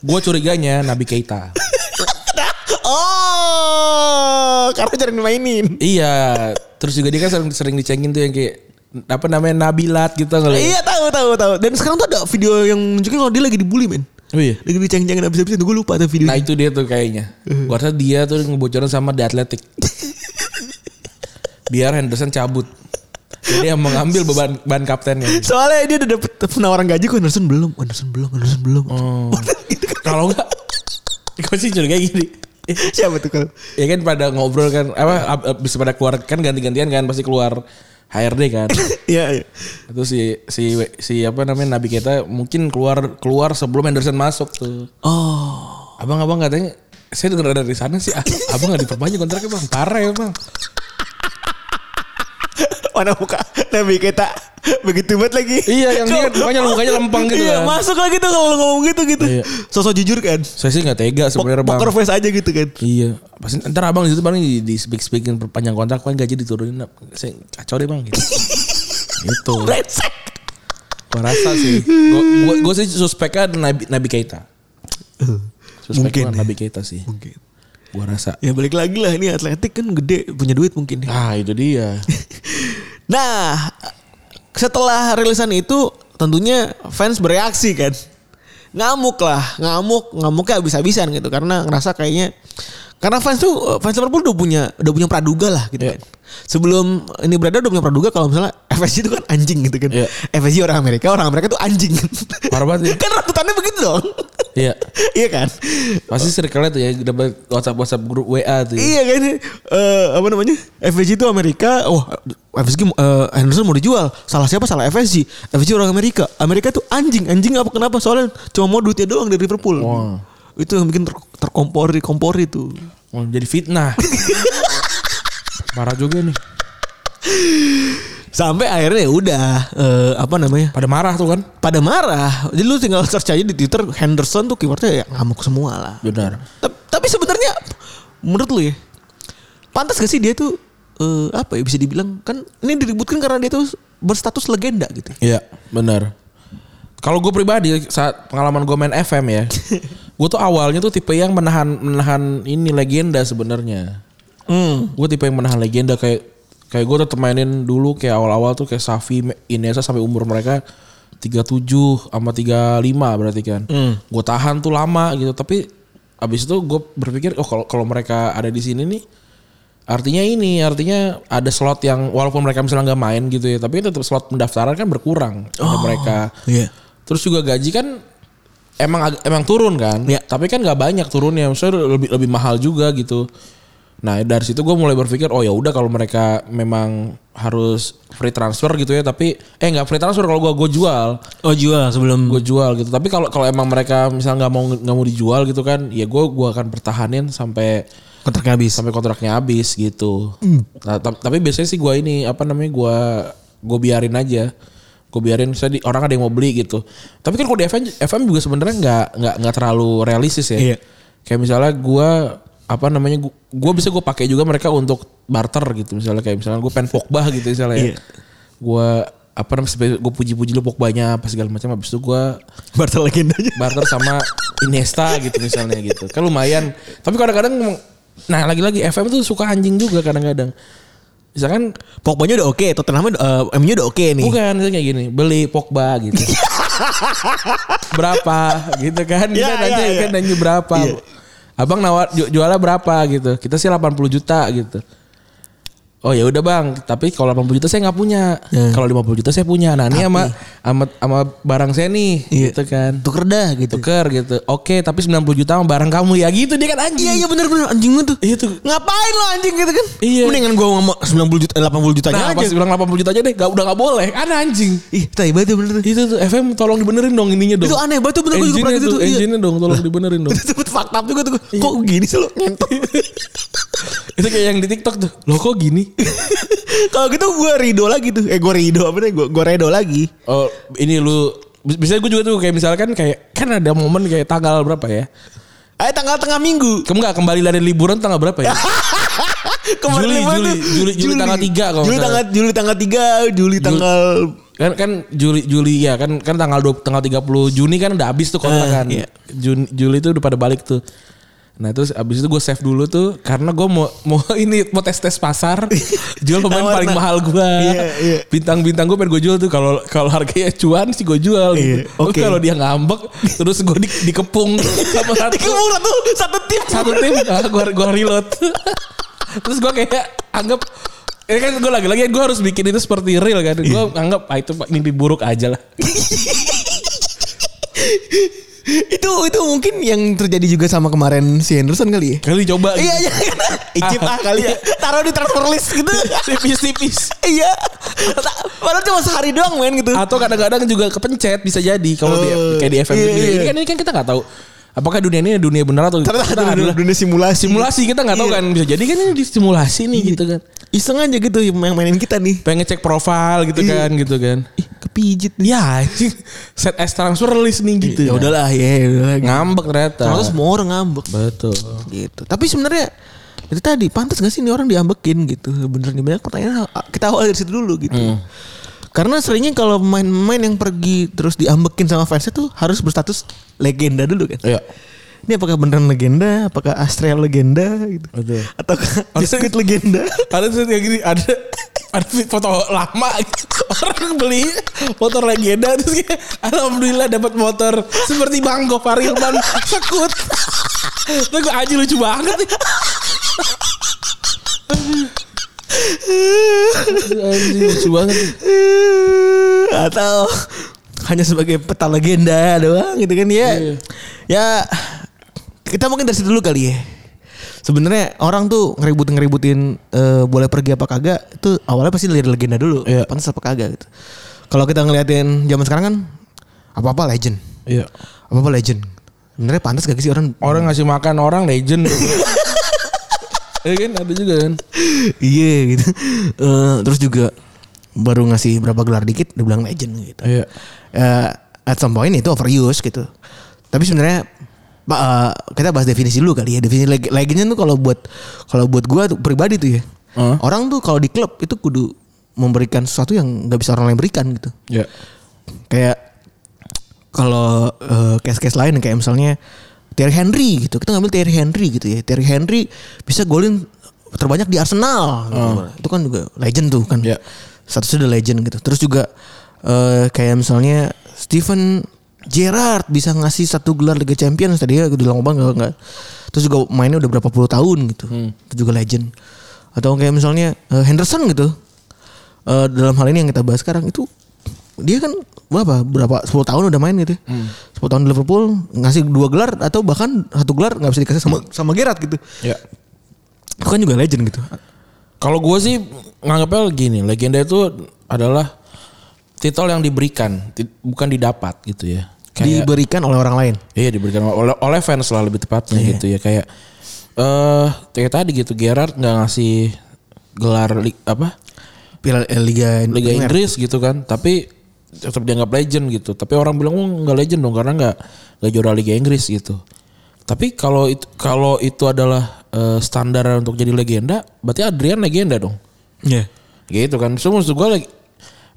Speaker 2: Gue curiganya Nabi Keita.
Speaker 3: Oh, karena jarang dimainin.
Speaker 2: iya, Terus juga dia kan sering, sering dicengin tuh yang kayak apa namanya Nabilat gitu nggak?
Speaker 3: Iya tahu tahu tahu. Dan sekarang tuh ada video yang nunjukin kalau dia lagi dibully men.
Speaker 2: Oh iya.
Speaker 3: Lagi diceng-cengin abis-abisan gue lupa ada video.
Speaker 2: Nah itu dia tuh kayaknya. Gua rasa dia tuh ngebocorin sama The Athletic. Biar Henderson cabut. Jadi yang mengambil beban ban kaptennya.
Speaker 3: Soalnya dia udah dapet penawaran gaji kok Anderson belum, Anderson belum, Anderson belum.
Speaker 2: Oh.
Speaker 3: Gitu kan.
Speaker 2: Kalau enggak gue sih curiga gini.
Speaker 3: Siapa tuh kalau?
Speaker 2: Ya kan pada ngobrol kan apa bisa pada keluar kan ganti-gantian kan pasti keluar HRD kan.
Speaker 3: Iya, iya.
Speaker 2: Itu si si si apa namanya Nabi kita mungkin keluar keluar sebelum Henderson masuk tuh.
Speaker 3: Oh.
Speaker 2: Abang-abang katanya saya dengar dari sana sih ah, abang nggak diperpanjang kontraknya bang parah ya bang
Speaker 3: Mana muka Nah, Nabi kita begitu banget lagi.
Speaker 2: Iya, yang dia
Speaker 3: Kalau-
Speaker 2: mukanya- mukanya lempeng gitu
Speaker 3: Iya,
Speaker 2: kan.
Speaker 3: masuk lagi tuh kalau lu ngomong gitu gitu.
Speaker 2: Iya.
Speaker 3: Sosok jujur kan.
Speaker 2: saya sih nggak tega sebenarnya bang
Speaker 3: Poker face aja gitu kan.
Speaker 2: Iya, pasti ntar abang di situ paling di, di speak speakin perpanjang kontrak paling gaji diturunin. Nap. Saya kacau deh bang. Gitu. itu.
Speaker 3: Brengsek.
Speaker 2: Gitu. Gua rasa sih. Gua, gua, gua sih suspeknya ada Nabi, Nabi Keita. Suspeknya
Speaker 3: Mungkin.
Speaker 2: Nabi Keita sih.
Speaker 3: Mungkin.
Speaker 2: Gua rasa.
Speaker 3: Ya balik lagi lah ini atletik kan gede punya duit mungkin. ya.
Speaker 2: Ah itu dia.
Speaker 3: Nah, setelah rilisan itu tentunya fans bereaksi kan. Ngamuk lah, ngamuk, ngamuknya habis-habisan gitu karena ngerasa kayaknya karena fans tuh fans Liverpool udah punya udah punya praduga lah gitu
Speaker 2: Iya.
Speaker 3: kan. Sebelum ini berada udah punya praduga kalau misalnya FSG itu kan anjing gitu kan.
Speaker 2: Iya.
Speaker 3: FSG orang Amerika, orang Amerika tuh anjing.
Speaker 2: Parah banget ya.
Speaker 3: kan runtutannya begitu dong.
Speaker 2: Iya.
Speaker 3: iya kan?
Speaker 2: Pasti circle tuh ya dapat WhatsApp WhatsApp grup WA tuh. Ya.
Speaker 3: Iya kan Eh, apa namanya? FSG itu Amerika. Wah, FSG eh, Henderson mau dijual. Salah siapa? Salah FSG. FSG orang Amerika. Amerika tuh anjing, anjing apa kenapa? Soalnya cuma mau duitnya doang dari Liverpool.
Speaker 2: Wah.
Speaker 3: Itu yang bikin ter terkompori, kompori tuh.
Speaker 2: Oh, jadi fitnah. Parah juga nih.
Speaker 3: Sampai akhirnya ya udah eh, apa namanya?
Speaker 2: Pada marah tuh kan.
Speaker 3: Pada marah. Jadi lu tinggal search aja di Twitter Henderson tuh keywordnya ya ngamuk semua lah.
Speaker 2: Benar.
Speaker 3: Tep- Tapi sebenarnya menurut lu ya pantas gak sih dia tuh eh, apa ya bisa dibilang kan ini diributkan karena dia tuh berstatus legenda gitu.
Speaker 2: Iya, benar. Kalau gue pribadi saat pengalaman gue main FM ya, gue tuh awalnya tuh tipe yang menahan menahan ini legenda sebenarnya. Gue tipe yang menahan legenda kayak kayak gue tetap mainin dulu kayak awal-awal tuh kayak Safi, Inesa sampai umur mereka 37 sama 35 berarti kan. Gue tahan tuh lama gitu, tapi abis itu gue berpikir oh kalau kalau mereka ada di sini nih Artinya ini, artinya ada slot yang walaupun mereka misalnya nggak main gitu ya, tapi tetap slot pendaftaran kan berkurang pada mereka.
Speaker 3: Iya.
Speaker 2: Terus juga gaji kan emang ag- emang turun kan,
Speaker 3: Iya.
Speaker 2: tapi kan nggak banyak turunnya, maksudnya lebih lebih mahal juga gitu. Nah dari situ gue mulai berpikir, oh ya udah kalau mereka memang harus free transfer gitu ya, tapi eh nggak free transfer kalau gue gue jual
Speaker 3: Oh jual sebelum
Speaker 2: gue jual gitu tapi kalau kalau emang mereka misalnya nggak mau nggak mau dijual gitu kan ya gue gua akan pertahanin sampai
Speaker 3: kontraknya habis. Hmm.
Speaker 2: sampai kontraknya habis gitu. Nah, ta- tapi biasanya sih gua ini apa namanya gua gue biarin aja. Gue biarin misalnya di- orang ada yang mau beli gitu. Tapi kan kalau di FM, FM juga sebenarnya nggak nggak nggak terlalu realistis ya.
Speaker 3: Iya.
Speaker 2: Kayak misalnya gua apa namanya gua, gua bisa gue pakai juga mereka untuk barter gitu misalnya kayak misalnya gue pengen Pogba gitu misalnya ya.
Speaker 3: Iya.
Speaker 2: Gua apa namanya gue puji-puji lu Pogbanya apa segala macam habis itu gua
Speaker 3: Bartel legendanya.
Speaker 2: barter sama Iniesta gitu misalnya gitu. Kan lumayan. Tapi kadang-kadang emang- nah lagi-lagi FM tuh suka anjing juga kadang-kadang. Misalkan
Speaker 3: Pokoknya udah oke, Tottenhamnya eh, MU udah oke nih.
Speaker 2: bukan misalnya kayak gini, beli Pogba gitu. berapa gitu kan. Kita
Speaker 3: Iya,
Speaker 2: nanya
Speaker 3: iya,
Speaker 2: kan
Speaker 3: iya.
Speaker 2: nanya berapa.
Speaker 3: Iya.
Speaker 2: Abang nawar ju- jualnya berapa gitu. Kita sih 80 juta gitu. Oh ya udah Bang, tapi kalau 80 juta saya nggak punya.
Speaker 3: Ya.
Speaker 2: Kalau 50 juta saya punya. Nah, ini sama sama sama barang saya nih
Speaker 3: Iya.
Speaker 2: gitu kan.
Speaker 3: Tuker dah gitu.
Speaker 2: tuker gitu. Oke, tapi 90 juta sama barang kamu ya gitu dia kan anjing.
Speaker 3: Iya iya bener bener anjing lu tuh.
Speaker 2: Iya tuh.
Speaker 3: Ngapain lo anjing gitu kan?
Speaker 2: Iya.
Speaker 3: Mendingan gua ngomong 90 juta eh, 80 jutanya
Speaker 2: Nah,
Speaker 3: aja.
Speaker 2: pas bilang 80 juta aja deh, gak, udah gak boleh. Kan anjing.
Speaker 3: Ih, tai banget ya bener. tuh.
Speaker 2: Itu tuh FM tolong dibenerin dong ininya dong.
Speaker 3: Itu aneh banget tuh bener gua juga pernah
Speaker 2: Engine-nya
Speaker 3: gitu
Speaker 2: tuh,
Speaker 3: tuh. Iya.
Speaker 2: engine-nya dong tolong dibenerin dong.
Speaker 3: Itu fakta juga tuh.
Speaker 2: Iya.
Speaker 3: Kok gini sih lo ngentot?
Speaker 2: itu kayak yang di TikTok tuh. Loh kok gini?
Speaker 3: Kalau gitu gue rido lagi tuh. Eh gue rido apa nih? Gue gue redo lagi.
Speaker 2: Oh, ini lu bisa gue juga tuh kayak misalkan kayak kan ada momen kayak tanggal berapa ya?
Speaker 3: Ayo Eh, tanggal tengah minggu.
Speaker 2: Kamu nggak kembali dari liburan tanggal berapa ya? Juli, Juli,
Speaker 3: banget tuh.
Speaker 2: Juli, Juli tanggal tiga kalau
Speaker 3: Juli
Speaker 2: nggak
Speaker 3: tanggal Juli tanggal 3, Juli tanggal
Speaker 2: kan kan Juli Juli ya kan
Speaker 5: Eh,
Speaker 2: kan tanggal 20, tanggal 30 Juni kan udah habis tuh kontrak
Speaker 3: Ah,
Speaker 2: kan.
Speaker 3: iya.
Speaker 2: Juni- Juli itu udah pada balik tuh. Nah terus abis itu gue save dulu tuh karena gue mau mau ini mau tes tes pasar jual pemain
Speaker 5: Tawarna.
Speaker 2: paling mahal gue
Speaker 5: Iya, iya.
Speaker 2: bintang bintang gue pengen gue jual tuh kalau kalau harganya cuan sih gue jual gitu.
Speaker 5: Iya, oke.
Speaker 2: Kalau dia ngambek terus gue di, dikepung sama satu
Speaker 5: Dikebur tuh satu tim.
Speaker 2: satu tim nah, gue gue reload terus gue kayak anggap ini kan gue lagi lagi gue harus bikin itu seperti real kan gue anggap ah, itu mimpi buruk aja lah
Speaker 3: itu itu mungkin yang terjadi juga sama kemarin si Henderson kali ya.
Speaker 2: kali coba
Speaker 3: Iya
Speaker 2: gitu.
Speaker 3: iya. Icip ah kali ya. Taruh di transfer list gitu.
Speaker 2: tipis-tipis
Speaker 3: Iya. Ta- Padahal cuma sehari doang main gitu.
Speaker 2: atau kadang-kadang juga kepencet bisa jadi kalau di
Speaker 5: Eh,
Speaker 2: kayak di FM
Speaker 5: iya,
Speaker 2: dunia. ini
Speaker 5: iya.
Speaker 2: kan ini kan kita nggak tahu apakah dunia ini dunia benar atau
Speaker 5: Ternyata
Speaker 2: kita
Speaker 5: ada dunia,
Speaker 2: adalah
Speaker 5: dunia simulasi.
Speaker 2: simulasi kita nggak tahu kan bisa jadi kan ini disimulasi nih gitu kan
Speaker 3: Iseng aja gitu yang mainin kita nih.
Speaker 2: pengen cek profil gitu kan gitu kan
Speaker 3: Ih, kepijit nih.
Speaker 2: ya anjing set S transfer list nih gitu
Speaker 3: Ya udahlah ya, ya udahlah.
Speaker 2: ngambek ternyata
Speaker 3: Ternyata semua orang ngambek
Speaker 2: betul
Speaker 3: gitu. Tapi sebenarnya itu tadi pantas gak sih ini orang diambekin gitu. Bener nih banyak pertanyaan kita awal dari situ dulu gitu. Karena seringnya kalau pemain-pemain yang pergi terus diambekin sama fansnya tuh harus berstatus legenda dulu kan.
Speaker 2: Iya.
Speaker 3: Ini apakah beneran legenda? Apakah Astrea legenda gitu?
Speaker 2: Betul.
Speaker 3: Atau
Speaker 2: Harusnya-
Speaker 3: Biskuit legenda?
Speaker 2: ada tuh kayak gini ada ada foto lama gitu. orang beli motor legenda terus kayak alhamdulillah dapat motor seperti Bang Gopar Hilman sekut itu gue aja lucu banget nih. Anjing, lucu banget nih.
Speaker 3: Eh, atau hanya sebagai peta legenda doang gitu kan ya
Speaker 2: Iya.
Speaker 3: ya kita mungkin dari situ dulu kali ya sebenarnya orang tuh ngeribut ngeributin eh, boleh pergi apa kagak itu awalnya pasti dari legenda dulu
Speaker 2: Iya.
Speaker 3: pantas apa kagak gitu kalau kita ngeliatin zaman sekarang kan apa apa legend
Speaker 2: Iya.
Speaker 3: apa apa legend sebenarnya pantas gak sih orang
Speaker 2: Orang ngasih makan orang legend. Iya kan ada juga kan.
Speaker 3: iya gitu Eh, terus juga baru ngasih berapa gelar dikit dibilang legend gitu
Speaker 2: Iya.
Speaker 3: Eh, at some point itu overuse gitu. Tapi sebenarnya Pak, eh, kita bahas definisi dulu kali ya. Definisi leg legend tuh kalau buat kalau buat gua tuh pribadi tuh ya.
Speaker 2: Heeh.
Speaker 3: Orang tuh kalau di klub itu kudu memberikan sesuatu yang nggak bisa orang lain berikan gitu.
Speaker 2: Iya.
Speaker 3: Kayak kalau eh, case-case lain kayak misalnya Thierry Henry gitu. Kita ngambil Thierry Henry gitu ya. Thierry Henry bisa golin terbanyak di Arsenal gitu. Itu kan juga legend tuh kan.
Speaker 2: Iya.
Speaker 3: Statusnya udah legend gitu. Terus juga eh, kayak misalnya Steven Gerrard bisa ngasih satu gelar Liga Champions tadi ya udah lama banget nggak- nggak. Terus juga mainnya udah berapa puluh tahun gitu. Itu juga legend. Atau kayak misalnya eh, Henderson gitu. Eh, dalam hal ini yang kita bahas sekarang itu dia kan berapa berapa 10 tahun udah main gitu. sepuluh 10 tahun di Liverpool ngasih dua gelar atau bahkan satu gelar nggak bisa dikasih sama sama Gerrard gitu.
Speaker 2: Iya.
Speaker 3: Itu kan juga legend gitu.
Speaker 2: Kalau gue sih nganggapnya gini, legenda itu adalah titel yang diberikan, ti- bukan didapat gitu ya. Kayak,
Speaker 3: Diberikan oleh orang lain.
Speaker 2: iya diberikan oleh oleh fans lah lebih tepatnya
Speaker 3: Iya.
Speaker 2: gitu ya kayak eh kayak tadi gitu Gerard nggak ngasih gelar li- apa
Speaker 3: Piala eh, Liga
Speaker 2: Liga
Speaker 3: Primer.
Speaker 2: Inggris gitu kan, tapi tetap dianggap legend gitu. Tapi orang bilang oh nggak legend dong karena nggak nggak juara Liga Inggris gitu. Tapi kalau itu kalau itu adalah eh, standar untuk jadi legenda, berarti Adrian legenda dong
Speaker 3: Iya.
Speaker 2: gitu kan so maksud gue like,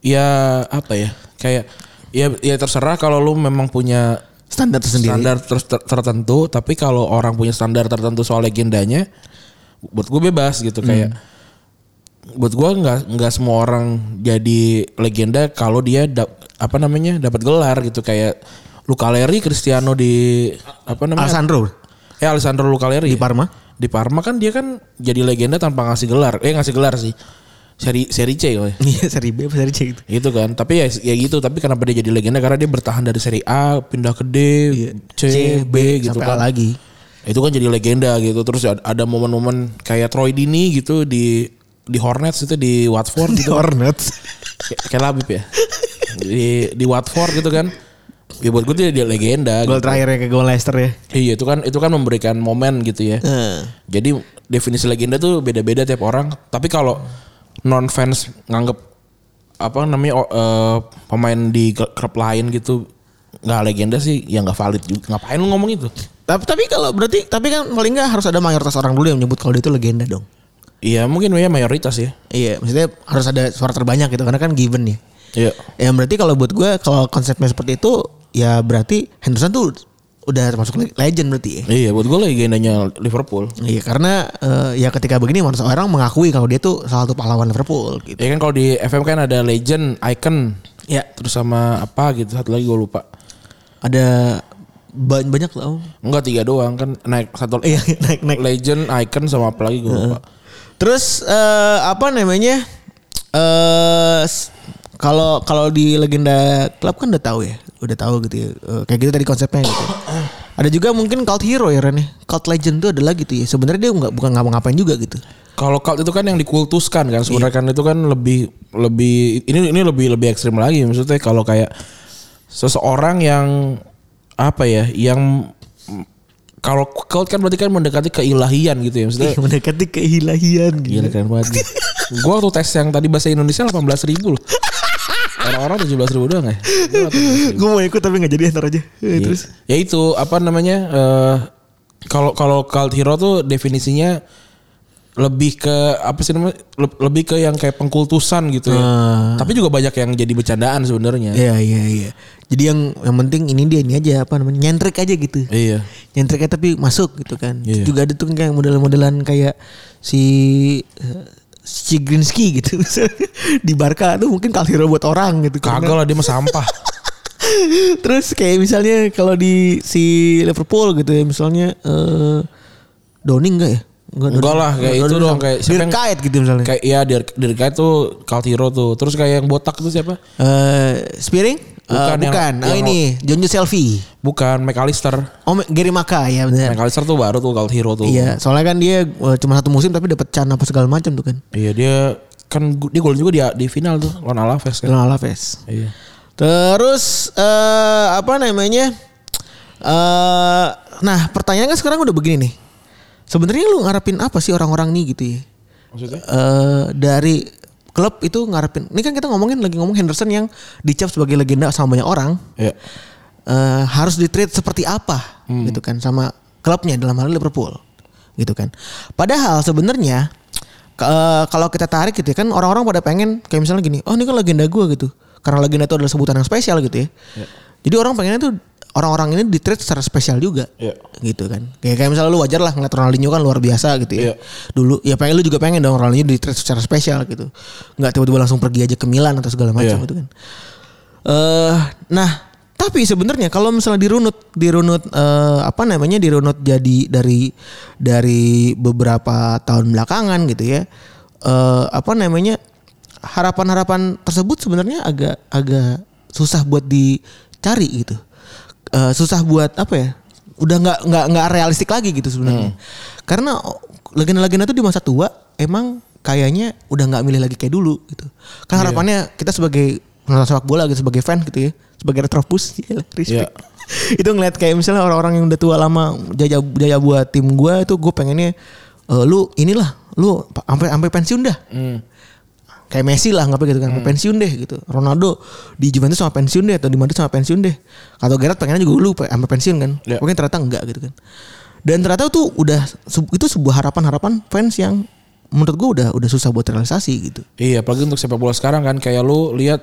Speaker 2: ya apa ya kayak ya ya terserah kalau lu memang punya
Speaker 3: Standar tersendiri.
Speaker 2: standar ter- ter- tertentu tapi kalau orang punya standar tertentu soal legendanya buat gue bebas gitu
Speaker 3: Hmm.
Speaker 2: kayak buat gue nggak nggak semua orang jadi legenda kalau dia dap- apa namanya dapat gelar gitu kayak Luca Leri Cristiano di apa namanya
Speaker 3: Alessandro
Speaker 2: eh Alessandro Luca Leri
Speaker 3: di Parma.
Speaker 2: di Parma kan dia kan jadi legenda tanpa ngasih gelar. Eh ngasih gelar sih. Seri seri C kali.
Speaker 3: Iya seri B apa seri C gitu.
Speaker 2: Gitu kan. Tapi ya ya gitu, tapi kenapa dia jadi legenda? Karena dia bertahan dari seri A pindah ke D, C, B, gitu
Speaker 3: Iya. sampai A
Speaker 2: kan.
Speaker 3: lagi.
Speaker 2: Itu kan jadi legenda gitu. Terus ada- ada momen-momen kayak Troy Dini gitu di di Hornets itu di Watford gitu.
Speaker 3: Di Hornets.
Speaker 2: Kayak- kayak Labib ya. Di di Watford gitu kan. Ya buat gue dia, dia legenda.
Speaker 3: Gol
Speaker 2: gitu.
Speaker 3: terakhirnya ke gol Leicester ya.
Speaker 2: Iya, itu kan itu kan memberikan momen gitu ya. Jadi definisi legenda tuh beda-beda tiap orang. Tapi kalau non fans nganggep apa namanya o- eh, pemain di kl- klub lain gitu nggak legenda sih ya nggak valid juga. Ngapain lu ngomong gitu? itu?
Speaker 3: Tapi tapi kalau berarti tapi kan paling nggak harus ada mayoritas orang dulu yang menyebut kalau dia itu legenda dong.
Speaker 2: Iya mungkin ya mayoritas ya.
Speaker 3: Iya, maksudnya harus ada suara terbanyak gitu karena kan given ya.
Speaker 2: Iya.
Speaker 3: Ya berarti kalau buat gue kalau konsepnya seperti itu ya berarti Henderson tuh udah termasuk le- legend berarti ya.
Speaker 2: Iya, buat gue legendanya Liverpool.
Speaker 3: Iya karena eh, ya ketika begini mana seorang mengakui kalau dia tuh salah satu pahlawan Liverpool gitu.
Speaker 2: Ya kan kalau di FM kan ada legend, icon,
Speaker 3: Ya
Speaker 2: terus sama apa gitu. Satu lagi gue lupa.
Speaker 3: ada banyak banyak lah. Om.
Speaker 2: Enggak tiga doang kan naik satu
Speaker 3: Iya naik naik.
Speaker 2: legend, icon sama apa lagi gue lupa.
Speaker 3: Terus eh, apa namanya? Eh s- kalau kalau di legenda klub kan udah tahu ya, udah tahu gitu ya. Eh, kayak gitu tadi konsepnya gitu. Ada juga mungkin cult hero ya Ren ya. Cult legend tuh adalah gitu ya. Sebenarnya dia nggak bukan ngapa-ngapain juga gitu.
Speaker 2: Kalau cult itu kan yang dikultuskan kan sebenarnya kan itu kan lebih lebih ini ini lebih lebih ekstrim lagi maksudnya kalau kayak seseorang yang apa ya yang kalau cult kan berarti kan mendekati keilahian gitu ya maksudnya
Speaker 3: Mendekati keilahian gitu.
Speaker 2: Gila keren banget nih. Gue waktu tes yang tadi bahasa Indonesia 18 ribu loh. Orang-orang 17 ribu doang ya. Gua waktu tes.
Speaker 3: Gue mau ikut tapi nggak jadi antar aja. Eh, Terus
Speaker 2: Ya itu apa namanya? eh, Kalau kalau cult hero tuh definisinya lebih ke apa sih namanya? Le- Lebih ke yang kayak pengkultusan gitu ya. Tapi juga banyak yang jadi bercandaan sebenarnya.
Speaker 3: Ah. Iya iya iya. Jadi yang yang penting ini dia ini aja apa namanya nyentrik aja gitu.
Speaker 2: Iya.
Speaker 3: Nyentriknya tapi masuk gitu kan.
Speaker 2: Iya.
Speaker 3: Juga ada tuh kayak modelan-modelan kayak si eh, si Grinsky gitu misalnya di Barca tuh mungkin kalau hero buat orang gitu
Speaker 2: Kagak
Speaker 3: Karena-
Speaker 2: lah dia mah sampah.
Speaker 3: Terus kayak misalnya kalau di si Liverpool gitu ya misalnya eh Downing enggak ya?
Speaker 2: Enggak lah, kayak itu doang, kayak siapa yang-
Speaker 3: Dirkait gitu misalnya.
Speaker 2: kayak iya Dirk Dirk Kuyt tuh cult hero tuh. Terus kayak yang botak itu siapa?
Speaker 3: Eh, Spearing? Eh,
Speaker 2: Bukan yang-
Speaker 3: bukan. oh
Speaker 2: yang-
Speaker 3: ini Jonjo Selfie.
Speaker 2: Bukan McAllister.
Speaker 3: Oh Gary Maka ya benar.
Speaker 2: McAllister tuh baru tuh cult hero tuh.
Speaker 3: Iya, soalnya kan dia eh, cuma satu musim tapi dapat can apa segala macam tuh kan.
Speaker 2: Iya dia kan gu- dia gol juga di di final tuh lawan Alaves kan.
Speaker 3: Lawan Alaves.
Speaker 2: Iya.
Speaker 3: Terus eh apa namanya? Eh nah, pertanyaannya kan sekarang udah begini nih. Sebenarnya lu ngarepin apa sih orang-orang nih gitu ya?
Speaker 2: Maksudnya?
Speaker 3: Eh, dari klub itu ngarepin. Ini kan kita ngomongin lagi ngomong Henderson yang dicap sebagai legenda sama banyak orang.
Speaker 2: Iya.
Speaker 3: eh, harus ditreat seperti apa gitu kan sama klubnya dalam hal Liverpool gitu kan. Padahal sebenarnya ke- eh, kalau kita tarik gitu ya kan orang-orang pada pengen kayak misalnya gini, oh ini kan legenda gue gitu. Karena legenda itu adalah sebutan yang spesial gitu ya. Jadi orang pengennya tuh orang-orang ini ditreat secara spesial juga
Speaker 2: Iya.
Speaker 3: gitu kan. Kayak kayak misalnya lu wajar lah ngeliat Ronaldinho kan luar biasa gitu ya.
Speaker 2: Iya.
Speaker 3: Dulu ya pengen lu juga pengen dong Ronaldinho ditreat secara spesial gitu. Nggak tiba-tiba langsung pergi aja ke Milan atau segala
Speaker 2: Iya.
Speaker 3: macam gitu kan. Eh, nah, tapi sebenarnya kalau misalnya dirunut, dirunut eh, apa namanya? Dirunut jadi dari dari beberapa tahun belakangan gitu ya. Eh, apa namanya? Harapan-harapan tersebut sebenarnya agak agak susah buat dicari gitu. Eh, susah buat apa ya? Udah nggak nggak nggak realistik lagi gitu sebenarnya. Karena legenda-legenda tuh di masa tua emang kayaknya udah nggak milih lagi kayak dulu gitu. Kan harapannya kita sebagai penonton sepak bola gitu sebagai fan gitu ya, sebagai retropus gila, respect.
Speaker 2: Iya.
Speaker 3: itu ngeliat kayak misalnya orang-orang yang udah tua lama jaya jaya buat tim gua itu gue pengennya eh, lu inilah lu sampai sampai pensiun dah. Kayak Messi lah ngapain gitu kan
Speaker 2: Hmm.
Speaker 3: sampai pensiun deh gitu. Ronaldo di Juventus sama pensiun deh atau di Madrid sama pensiun deh. Atau Gerrard pengennya juga lu sampai pensiun kan.
Speaker 2: Iya.
Speaker 3: Mungkin ternyata enggak gitu kan. Dan ternyata tuh udah se- itu sebuah harapan-harapan fans yang menurut gue udah udah susah buat realisasi gitu.
Speaker 2: Iya, apalagi untuk sepak bola sekarang kan kayak lu lihat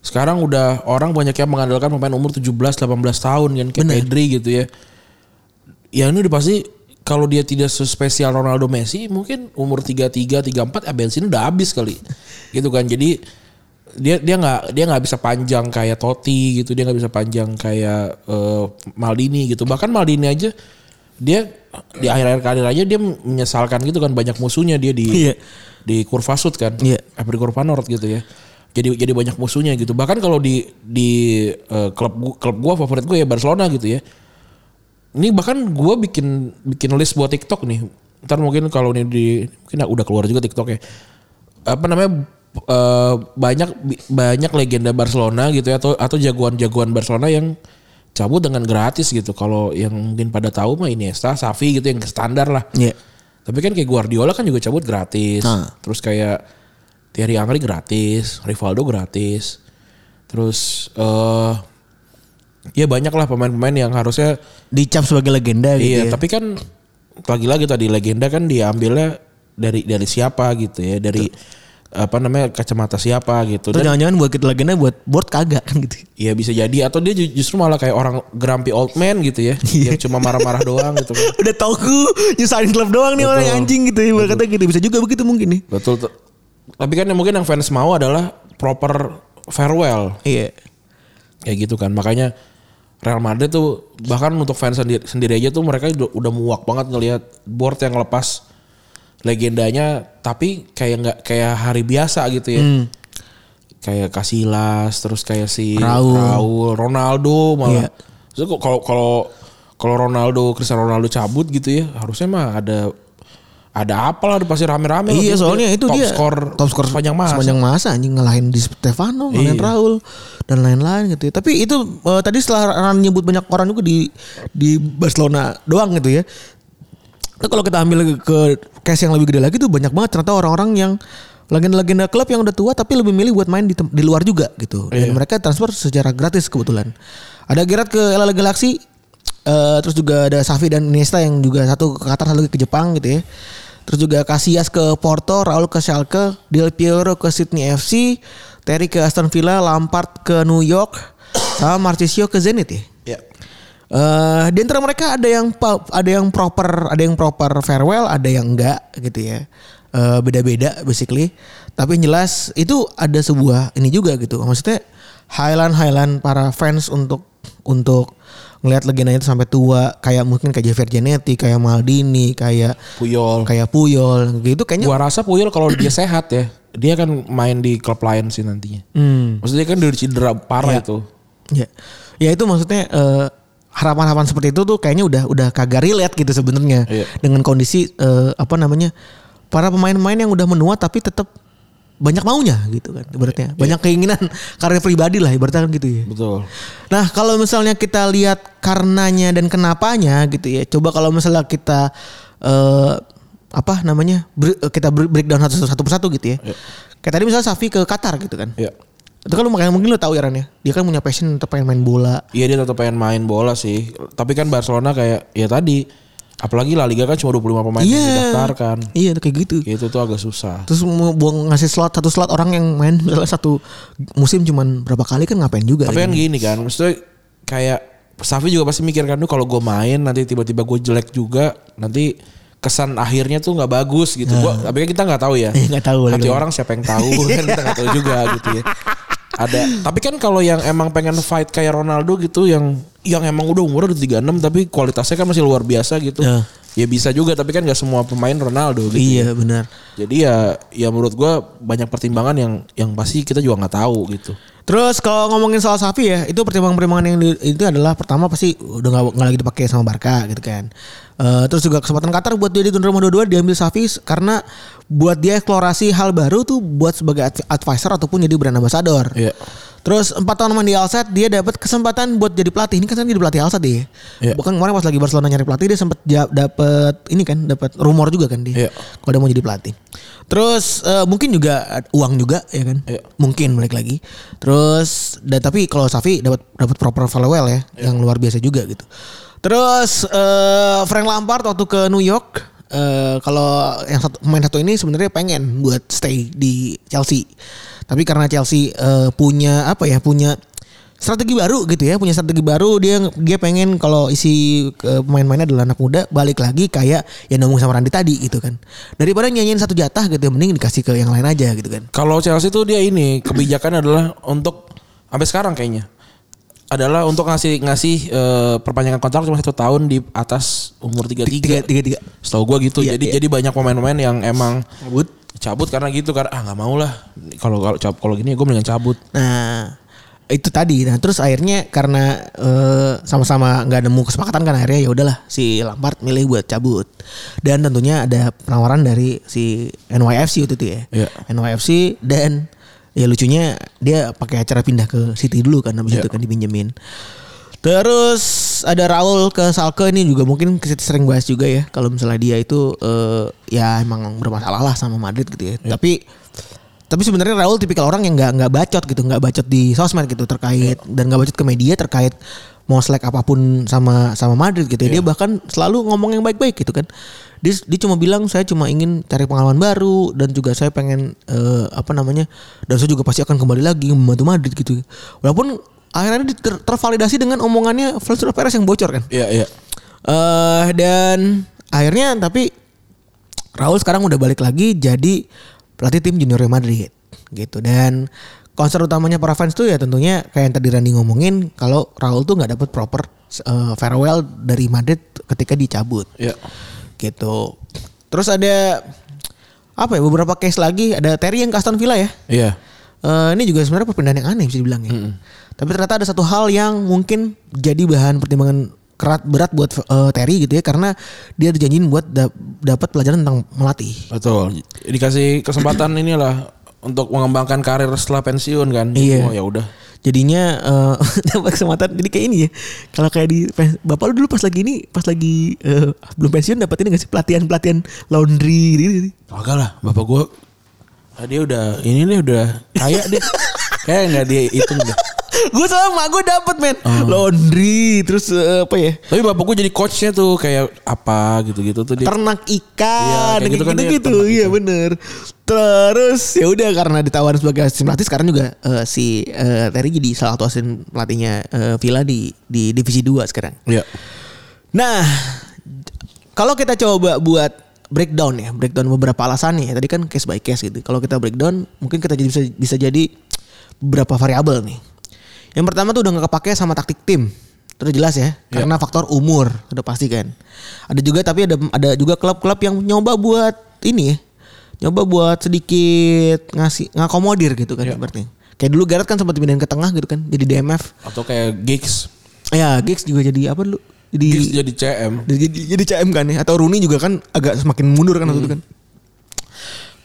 Speaker 2: sekarang udah orang banyak yang mengandalkan pemain umur 17 18 tahun kan kayak
Speaker 3: Bener.
Speaker 2: Pedri gitu ya. Ya ini udah pasti kalau dia tidak sespesial Ronaldo Messi mungkin umur 33 34 ya bensin udah habis kali. Gitu kan. Jadi dia dia nggak dia nggak bisa panjang kayak Totti gitu dia nggak bisa panjang kayak eh, Maldini gitu bahkan Maldini aja dia di akhir-akhir karir aja dia menyesalkan gitu kan banyak musuhnya dia di
Speaker 3: Iya.
Speaker 2: di kurva sud kan
Speaker 3: Iya.
Speaker 2: apa di kurva north gitu ya jadi jadi banyak musuhnya gitu bahkan kalau di di eh, klub gu- klub gua favorit gue ya Barcelona gitu ya ini bahkan gua bikin bikin list buat TikTok nih ntar mungkin kalau ini di mungkin udah keluar juga TikTok ya apa namanya eh, banyak bi- banyak legenda Barcelona gitu ya atau atau jagoan-jagoan Barcelona yang cabut dengan gratis gitu kalau yang mungkin pada tahu mah Iniesta, Xavi gitu yang standar lah
Speaker 3: Iya.
Speaker 2: tapi kan kayak Guardiola kan juga cabut gratis. Terus kayak Thierry Henry gratis, Rivaldo gratis. Terus eh ya banyak lah pemain-pemain yang harusnya
Speaker 3: Dicap sebagai legenda gitu.
Speaker 2: iya,
Speaker 3: ya.
Speaker 2: tapi kan lagi-lagi tadi legenda kan diambilnya dari dari siapa gitu ya, dari apa namanya kacamata siapa gitu
Speaker 3: Atau
Speaker 2: dan
Speaker 3: jangan-jangan buat kita legenda buat board kagak kan gitu.
Speaker 2: ya bisa jadi atau dia ju- justru malah kayak orang grumpy old man gitu ya yang
Speaker 3: Iya.
Speaker 2: cuma marah-marah doang gitu kan
Speaker 3: Udah toku nyusahin klub doang nih orang anjing gitu. Ya. Kata gitu bisa juga begitu mungkin nih.
Speaker 2: betul tuh. tapi kan yang mungkin yang fans mau adalah proper farewell
Speaker 3: Iya.
Speaker 2: kayak gitu kan makanya Real Madrid tuh bahkan untuk fans sendiri, sendiri aja tuh mereka udah, udah muak banget ngelihat board yang lepas legendanya tapi kayak nggak kayak hari biasa gitu ya
Speaker 3: Hmm.
Speaker 2: kayak Casillas terus kayak si
Speaker 3: Raul.
Speaker 2: Ronaldo malah
Speaker 3: Iya.
Speaker 2: Terus kok kalau kalau kalau Ronaldo Cristiano Ronaldo cabut gitu ya harusnya mah ada ada apa lah pasti rame-rame gitu ya.
Speaker 3: Iya soalnya itu
Speaker 2: top
Speaker 3: dia
Speaker 2: skor
Speaker 3: top skor
Speaker 2: sepanjang masa
Speaker 3: sepanjang masa anjing ngalahin di Stefano, ngalahin
Speaker 2: Iya.
Speaker 3: Raul dan lain-lain gitu. ya. Tapi itu eh, tadi setelah Ran nyebut banyak orang juga di di Barcelona doang gitu ya. Itu Nah, kalau kita ambil ke case yang lebih gede lagi tuh banyak banget ternyata orang-orang yang legenda-legenda klub yang udah tua tapi lebih milih buat main di, tem- di luar juga gitu. Dan mereka transfer secara gratis kebetulan. Ada Gerard ke LA Galaxy eh, terus juga ada Safi dan Iniesta yang juga satu ke Qatar satu ke Jepang gitu ya. Terus juga Casillas ke Porto, Raul ke Schalke, Del Piero ke Sydney FC, Terry ke Aston Villa, Lampard ke New York, sama Marchisio ke Zenit ya.
Speaker 2: Iya.
Speaker 3: Eh di antara mereka ada yang pa- ada yang proper, ada yang proper farewell, ada yang enggak gitu ya. Eh, beda-beda basically. Tapi yang jelas itu ada sebuah ini juga gitu. Maksudnya highland highland para fans untuk untuk ngelihat legenda itu sampai tua kayak mungkin kayak Javier Zanetti, kayak Maldini, kayak
Speaker 2: Puyol
Speaker 3: kayak Puyol gitu kayaknya
Speaker 2: Gua rasa Puyol kalau dia sehat ya, dia akan main di klub lain sih nantinya. Maksudnya kan dari cedera parah itu.
Speaker 3: Ya, ya itu maksudnya eh, harapan-harapan seperti itu tuh kayaknya udah udah kagak relate gitu sebenarnya
Speaker 2: Iya.
Speaker 3: dengan kondisi eh, apa namanya para pemain-pemain yang udah menua tapi tetap banyak maunya gitu kan ibaratnya banyak keinginan karir pribadi lah ibaratnya kan gitu ya.
Speaker 2: Iya. Betul.
Speaker 3: Nah kalau misalnya kita lihat karenanya dan kenapanya gitu ya. Coba kalau misalnya kita eh, apa namanya ber- kita ber- breakdown satu satu persatu gitu ya. Kayak tadi misalnya Safi ke Qatar gitu kan.
Speaker 2: Iya.
Speaker 3: Itu kan lu makanya mungkin lu tahu ya Ran ya. Dia kan punya passion untuk pengen main bola.
Speaker 2: Iya dia tetap pengen main bola sih. Tapi kan Barcelona kayak ya tadi apalagi La Liga kan cuma 25 pemain yang didaftarkan.
Speaker 3: Iya tuh kayak gitu.
Speaker 2: Itu tuh agak susah.
Speaker 3: Terus mau buang ngasih slot satu slot orang yang main misalnya satu musim cuman berapa kali kan ngapain juga.
Speaker 2: Tapi kan gini kan, maksudnya kayak Safi juga pasti mikir kan, "Duh, kalau gue main nanti tiba-tiba gue jelek juga, nanti kesan akhirnya tuh nggak bagus gitu. Gua, tapi kan kita nggak tahu ya.
Speaker 3: Nah. Iya, nggak tahu
Speaker 2: Hati
Speaker 3: lagi.
Speaker 2: orang siapa yang tahu kan kita nggak tahu juga gitu ya. Ada. Tapi kan kalau yang emang pengen fight kayak Ronaldo gitu yang yang emang udah umurnya udah 36 tapi kualitasnya kan masih luar biasa gitu.
Speaker 3: Ya.
Speaker 2: Ya bisa juga tapi kan nggak semua pemain Ronaldo gitu.
Speaker 3: Iya benar.
Speaker 2: Jadi ya ya menurut gua banyak pertimbangan yang yang pasti kita juga nggak tahu gitu.
Speaker 3: Terus kalau ngomongin soal Safi ya, itu pertimbangan-pertimbangan yang di- itu adalah pertama pasti udah nggak nggak lagi dipakai sama Barca gitu kan. Eh, terus juga kesempatan Qatar buat dia di tuan rumah dua-dua diambil Safi s- karena buat dia eksplorasi hal baru tuh buat sebagai adv- advisor ataupun jadi brand ambassador.
Speaker 2: Iya.
Speaker 3: Terus empat tahun main di Alsat dia dapat kesempatan buat jadi pelatih. Ini kan sekarang jadi pelatih Alsat dia.
Speaker 2: Iya.
Speaker 3: Bukan kemarin pas lagi Barcelona nyari pelatih dia sempat dapat ini kan dapat rumor juga kan dia.
Speaker 2: Iya.
Speaker 3: Kalau dia mau jadi pelatih. Terus eh, mungkin juga eh, uang juga ya kan.
Speaker 2: Iya.
Speaker 3: Mungkin balik lagi. Terus dan tapi kalau Safi dapat dapat proper farewell ya
Speaker 2: Iya.
Speaker 3: yang luar biasa juga gitu. Terus eh, Frank Lampard waktu ke New York eh, kalau yang satu pemain satu ini sebenarnya pengen buat stay di Chelsea. Tapi karena Chelsea eh, punya apa ya punya strategi baru gitu ya punya strategi baru dia dia pengen kalau isi eh, pemain-pemainnya adalah anak muda balik lagi kayak yang ngomong sama Randi tadi gitu kan daripada nyanyiin satu jatah gitu ya mending dikasih ke yang lain aja gitu kan
Speaker 2: Kalau Chelsea tuh dia ini kebijakan adalah untuk sampai sekarang kayaknya adalah untuk ngasih ngasih eh, perpanjangan kontrak cuma satu tahun di atas umur 33.
Speaker 3: tiga tiga tiga
Speaker 2: Setahu gua gitu.
Speaker 3: Iya,
Speaker 2: jadi
Speaker 3: iya.
Speaker 2: jadi banyak pemain-pemain yang emang
Speaker 3: Cabut.
Speaker 2: cabut karena gitu karena ah nggak mau lah. Kalau kalau cab- kalau gini gue mendingan cabut.
Speaker 3: nah itu tadi nah terus akhirnya karena eh, sama-sama nggak nemu kesepakatan kan akhirnya ya udahlah si Lampard milih buat cabut dan tentunya ada penawaran dari si NYFC waktu itu ya
Speaker 2: Iya.
Speaker 3: NYFC dan ya lucunya dia pakai acara pindah ke City dulu kan habis itu kan dipinjemin. Terus ada Raul ke Salke ini juga mungkin kita sering bahas juga ya kalau misalnya dia itu eh, ya emang bermasalah lah sama Madrid gitu ya. Tapi tapi sebenarnya Raul tipikal orang yang nggak nggak bacot gitu, nggak bacot di sosmed gitu terkait dan nggak bacot ke media terkait mau selek apapun sama sama Madrid gitu ya. Dia bahkan selalu ngomong yang baik-baik gitu kan. Dia dia cuma bilang saya cuma ingin cari pengalaman baru dan juga saya pengen eh, apa namanya dan saya juga pasti akan kembali lagi membantu Madrid gitu. Walaupun akhirnya dia ter- tervalidasi dengan omongannya Florentino Perez yang bocor kan.
Speaker 2: Iya, iya.
Speaker 3: eh dan akhirnya tapi Raul sekarang udah balik lagi jadi pelatih tim junior Madrid gitu dan concern utamanya para fans tuh ya tentunya kayak yang tadi Randy ngomongin kalau Raul tuh nggak dapet proper eh, farewell dari Madrid ketika dicabut
Speaker 2: Iya.
Speaker 3: gitu terus ada apa ya beberapa case lagi ada Terry yang ke Aston Villa ya
Speaker 2: Iya.
Speaker 3: Eh, ini juga sebenarnya perpindahan yang aneh bisa dibilang ya. Tapi ternyata ada satu hal yang mungkin jadi bahan pertimbangan kerat berat buat eh, Terry gitu ya karena dia dijanjiin buat da- dapat pelajaran tentang melatih.
Speaker 2: Betul. Dikasih kesempatan inilah untuk mengembangkan karir setelah pensiun kan.
Speaker 3: Iya.
Speaker 2: Oh ya udah.
Speaker 3: Jadinya eh, dapat kesempatan jadi kayak ini ya. Kalau kayak di pen- bapak lu dulu pas lagi ini pas lagi eh, belum pensiun dapat ini nggak sih pelatihan-pelatihan laundry gitu. gitu.
Speaker 2: Kagak lah, bapak gua ah, dia udah ini deh udah kaya deh. Kayak nggak dihitung deh.
Speaker 3: gue sama mak gue dapat men laundry terus eh, apa ya
Speaker 2: Tapi bapak gua jadi coachnya tuh kayak apa gitu-gitu tuh dia.
Speaker 3: ternak ikan
Speaker 2: Iya, kayak gitu
Speaker 3: gitu
Speaker 2: kan
Speaker 3: gitu,
Speaker 2: dia ternak
Speaker 3: iya bener terus ya udah karena ditawarin sebagai asisten pelatih sekarang juga eh, si eh, Terry jadi salah satu asisten pelatihnya eh, Villa di di divisi 2 sekarang
Speaker 2: Iya.
Speaker 3: nah kalau kita coba buat breakdown ya breakdown beberapa alasannya tadi kan case by case gitu kalau kita breakdown mungkin kita jadi bisa bisa jadi beberapa variabel nih yang pertama tuh udah nggak kepake sama taktik tim terus jelas ya karena faktor umur udah pasti kan ada juga tapi ada ada juga klub-klub yang nyoba buat ini ya nyoba buat sedikit ngasih ngakomodir gitu kan seperti kayak dulu Gareth kan sempat pindahin ke tengah gitu kan jadi DMF
Speaker 2: Atau kayak gigs.
Speaker 3: ya Giggs juga jadi apa dulu jadi
Speaker 2: Gigs jadi CM.
Speaker 3: jadi, jadi CM kan ya atau Rooney juga kan agak semakin mundur kan waktu itu kan.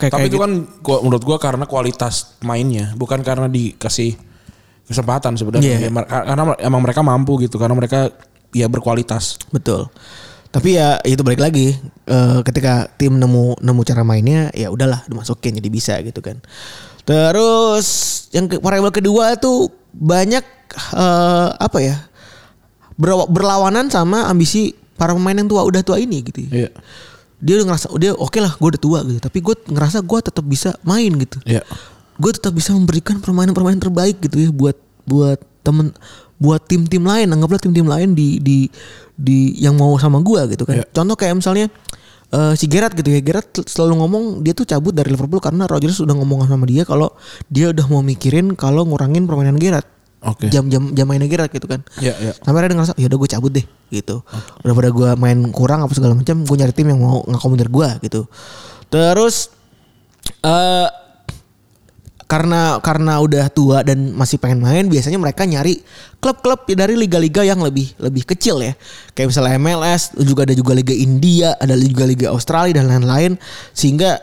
Speaker 3: Kayak
Speaker 2: Tapi
Speaker 3: kayak
Speaker 2: itu
Speaker 3: gitu.
Speaker 2: kan gua, menurut gua karena kualitas mainnya, bukan karena dikasih kesempatan sebenarnya.
Speaker 3: Iya.
Speaker 2: Ya, mer- karena emang mereka mampu gitu, karena mereka ya berkualitas.
Speaker 3: betul. Tapi ya itu balik lagi eh, ketika tim nemu nemu cara mainnya ya udahlah dimasukin jadi bisa gitu kan. Terus yang ke, variabel kedua tuh banyak eh, apa ya ber- berlawanan sama ambisi para pemain yang tua udah tua ini gitu. ya.
Speaker 2: Iya.
Speaker 3: dia udah ngerasa dia oke lah gue udah tua gitu tapi gue ngerasa gue tetap bisa main gitu
Speaker 2: Iya.
Speaker 3: gue tetap bisa memberikan permainan-permainan terbaik gitu ya buat buat temen buat tim-tim lain anggaplah tim-tim lain di di di yang mau sama gue gitu kan
Speaker 2: Iya.
Speaker 3: contoh kayak misalnya eh, si Gerard gitu ya Gerard sel- selalu ngomong dia tuh cabut dari Liverpool karena Rodgers udah ngomong sama dia kalau dia udah mau mikirin kalau ngurangin permainan Gerard
Speaker 2: Oke.
Speaker 3: jam-jam jam mainnya Gerard gitu kan
Speaker 2: Iya, iya.
Speaker 3: sampai ada ngerasa ya udah gue cabut deh gitu daripada gue main kurang apa segala macam gue nyari tim yang mau ngakomodir gue gitu terus eh karena karena udah tua dan masih pengen main biasanya mereka nyari klub-klub dari liga-liga yang lebih lebih kecil ya kayak misalnya MLS juga ada juga liga India ada juga liga Australia dan lain-lain sehingga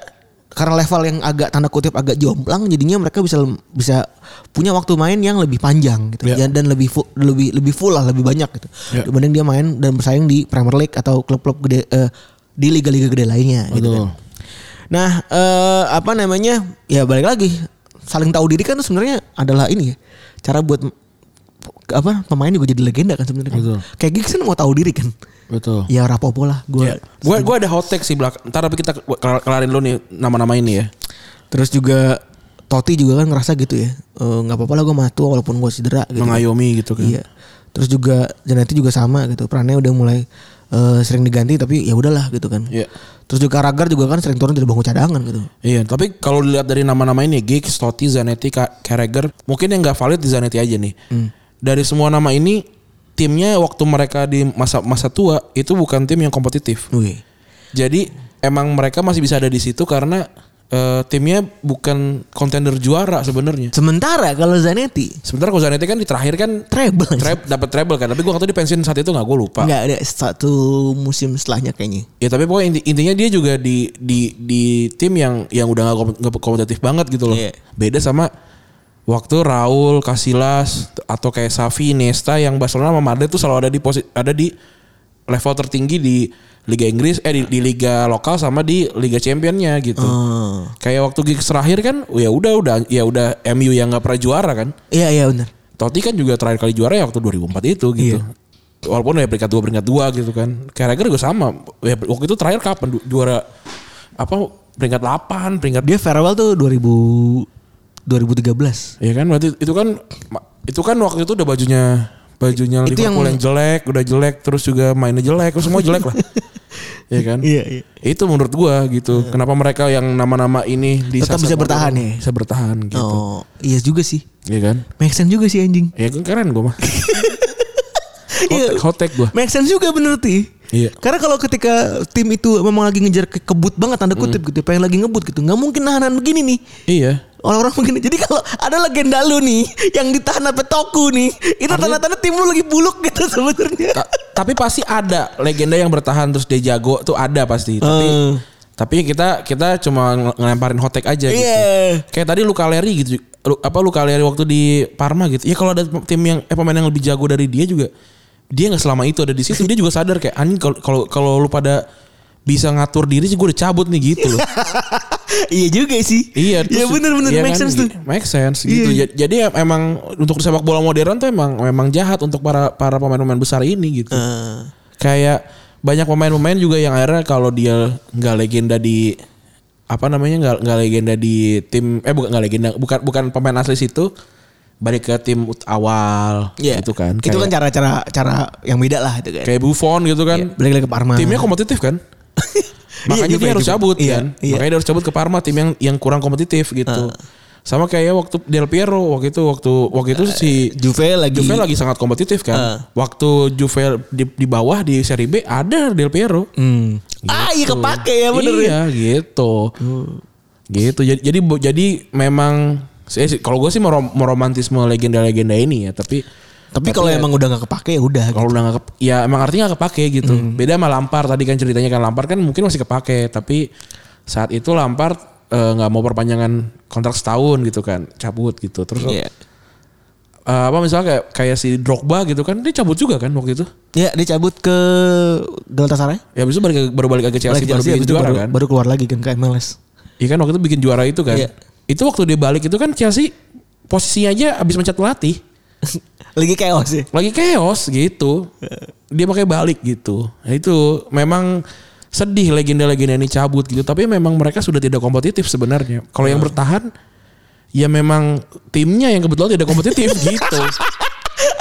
Speaker 3: karena level yang agak tanda kutip agak jomplang jadinya mereka bisa eh, bisa punya waktu main yang lebih panjang gitu
Speaker 2: Iya.
Speaker 3: dan, dan lebih fu- lebih lebih full lah lebih banyak gitu
Speaker 2: Iya.
Speaker 3: dibanding dia main dan bersaing di Premier League atau klub-klub gede eh, di liga-liga gede lainnya gitu
Speaker 2: Betul.
Speaker 3: kan. Nah, eh, apa namanya? Ya balik lagi, saling tahu diri kan sebenarnya adalah ini ya. Cara buat m- apa pemain juga jadi legenda kan sebenarnya. kan.
Speaker 2: Betul.
Speaker 3: Kayak Giggs kan mau tahu diri kan.
Speaker 2: Betul.
Speaker 3: Ya rapopo lah gue.
Speaker 2: Gue gua ada hot take sih belakang. Ntar tapi kita kelar- kelarin dulu nih nama-nama ini ya.
Speaker 3: Terus juga Totti juga kan ngerasa gitu ya. Eh, nggak apa-apa lah gue matua walaupun gue cedera gitu.
Speaker 2: Mengayomi gitu kan.
Speaker 3: Iya. Terus juga Janetti juga sama gitu. Perannya udah mulai eh, sering diganti tapi ya udahlah gitu kan.
Speaker 2: Iya.
Speaker 3: Terus juga Ragar juga kan sering turun dari bangku cadangan gitu.
Speaker 2: Iya, tapi kalau dilihat dari nama-nama ini, Giggs, Totti, Zanetti, Ka- Carragher, mungkin yang nggak valid di Zanetti aja nih. Dari semua nama ini, timnya waktu mereka di masa masa tua itu bukan tim yang kompetitif.
Speaker 3: Wih.
Speaker 2: Jadi emang mereka masih bisa ada di situ karena eh, timnya bukan kontender juara sebenarnya.
Speaker 3: Sementara kalau Zanetti
Speaker 2: Sebentar kalau Zanetti kan di terakhir kan
Speaker 3: treble.
Speaker 2: trap dapat treble kan, tapi gua nggak tahu di pensiun saat itu nggak gue lupa.
Speaker 3: Enggak ada satu musim setelahnya kayaknya.
Speaker 2: Ya tapi pokoknya inti- intinya dia juga di di di tim yang yang udah nggak kom- nggak kompetitif banget gitu loh.
Speaker 3: Iya.
Speaker 2: Beda sama waktu Raul, Casillas t- atau kayak Xavi, Nesta yang Barcelona sama Madrid tuh selalu ada di posi- ada di level tertinggi di Liga Inggris eh di, di liga lokal sama di Liga Championnya gitu.
Speaker 3: Oh. Eh,
Speaker 2: Kayak waktu gigs terakhir kan ya udah udah ya udah MU yang nggak pernah juara kan.
Speaker 3: Iya iya benar.
Speaker 2: Totti kan juga terakhir kali juara ya waktu 2004 itu gitu.
Speaker 3: Iya.
Speaker 2: Walaupun ya peringkat dua peringkat dua gitu kan. Carragher gue sama. Ya, waktu itu terakhir kapan Du- juara apa peringkat 8, peringkat
Speaker 3: Dia farewell tuh 2000 2013.
Speaker 2: Iya kan berarti itu kan itu kan waktu itu udah bajunya bajunya
Speaker 3: Itu yang-
Speaker 2: Liverpool yang, jelek, udah jelek, terus juga mainnya jelek, terus semua jelek lah. Iya kan?
Speaker 3: Iya, iya.
Speaker 2: Itu menurut gua gitu. Kenapa mereka yang nama-nama ini di
Speaker 5: Tetap
Speaker 2: sasar
Speaker 5: bisa
Speaker 2: modern
Speaker 5: bertahan ya?
Speaker 2: Bisa bertahan gitu.
Speaker 3: Oh, iya juga sih.
Speaker 2: Iya kan?
Speaker 3: Make sense juga sih anjing.
Speaker 2: Ya kan keren gua mah.
Speaker 3: Iya.
Speaker 2: Hotek, hotek gua.
Speaker 3: Make sense juga bener ti.
Speaker 2: Iya.
Speaker 3: Karena kalau ketika tim itu memang lagi ngejar ke kebut banget tanda kutip gitu, pengen lagi ngebut gitu, nggak mungkin nahanan begini nih.
Speaker 2: Iya.
Speaker 3: Orang-orang begini. Jadi kalau ada legenda lu nih yang ditahan sampai toku nih, itu tanda-tanda tim lu lagi buluk gitu sebenarnya.
Speaker 2: Ta- tapi pasti ada legenda yang bertahan terus dia jago tuh ada pasti. Tapi
Speaker 3: Eh.
Speaker 2: tapi kita kita cuma ng- ngelemparin hotek aja gitu.
Speaker 3: Iya.
Speaker 2: Kayak tadi Luka Leri gitu. Lu- apa Luka Leri waktu di Parma gitu. Ya kalau ada tim yang eh, pemain yang lebih jago dari dia juga dia nggak selama itu ada di situ dia juga sadar kayak anjing kalau kalau kalau lu pada bisa ngatur diri sih gue udah cabut nih gitu loh.
Speaker 3: iya juga sih.
Speaker 2: Iya,
Speaker 3: Iya
Speaker 2: terus-
Speaker 3: bener-bener
Speaker 2: iya
Speaker 3: make
Speaker 2: kan,
Speaker 3: sense tuh.
Speaker 2: gi- Make sense gitu.
Speaker 3: Iya.
Speaker 2: Ja- Jadi em- emang untuk sepak bola modern tuh emang memang jahat untuk para para pemain-pemain besar ini gitu.
Speaker 3: Ah.
Speaker 2: Kayak banyak pemain-pemain juga yang akhirnya kalau dia nggak legenda di apa namanya nggak nggak legenda di tim eh bukan nggak legenda bukan bukan pemain asli situ balik ke tim ut- awal
Speaker 5: Iya.
Speaker 2: gitu kan.
Speaker 5: Itu kan
Speaker 2: Kayak-
Speaker 5: cara-cara cara yang beda lah itu kan.
Speaker 2: kayak Buffon gitu kan.
Speaker 5: Balik lagi ke Parma.
Speaker 2: Timnya kompetitif kan?
Speaker 3: Iya,
Speaker 2: Makanya
Speaker 3: juga,
Speaker 2: dia harus
Speaker 3: juga.
Speaker 2: cabut
Speaker 3: Iya,
Speaker 2: kan.
Speaker 3: iya.
Speaker 2: Makanya dia harus cabut ke Parma tim yang yang kurang kompetitif gitu. Sama kayak ya waktu Del Piero waktu itu waktu waktu itu si
Speaker 3: Juve lagi
Speaker 2: Juve lagi sangat kompetitif kan.
Speaker 3: Ah.
Speaker 2: Waktu Juve di, di bawah di Serie B ada Del Piero.
Speaker 3: Hmm. Ah, iya
Speaker 2: Gitu.
Speaker 3: kepake ya bener ya.
Speaker 2: Iya gitu. Gitu. Jadi jadi bo- jadi memang saya sih- kalau gue sih merom- meromantisme legenda-legenda ini ya, tapi
Speaker 3: Tapi kalau
Speaker 2: ya-
Speaker 3: emang udah nggak kepake ya udah.
Speaker 2: kalau udah nggak kep- ya emang artinya nggak kepake gitu
Speaker 3: Hmm.
Speaker 2: beda sama lampar tadi kan ceritanya kan lampar kan mungkin masih kepake tapi saat itu lampar nggak mau perpanjangan kontrak setahun gitu kan cabut gitu terus
Speaker 3: Iya.
Speaker 2: eh, apa misalnya kayak kayak si drogba gitu kan dia cabut juga kan waktu itu
Speaker 3: Ya dia cabut ke Galatasaray.
Speaker 2: ya habis itu balik ke- baru balik lagi ke Chelsea,
Speaker 3: Balik ke
Speaker 2: baru
Speaker 3: Chelsea,
Speaker 2: bikin
Speaker 3: habis itu
Speaker 2: juara
Speaker 3: Ya, baru,
Speaker 2: kan
Speaker 3: baru keluar lagi kan ke MLS.
Speaker 2: iya kan waktu itu bikin juara itu kan
Speaker 3: Iya.
Speaker 2: itu waktu dia balik itu kan Chelsea posisinya aja habis mencat pelatih
Speaker 3: lagi chaos ya.
Speaker 2: lagi chaos gitu. Dia pakai balik gitu. Ya itu memang sedih legenda-legenda ini cabut gitu, tapi memang mereka sudah tidak kompetitif sebenarnya. Kalau
Speaker 3: Iya.
Speaker 2: yang bertahan ya memang timnya yang kebetulan tidak kompetitif gitu.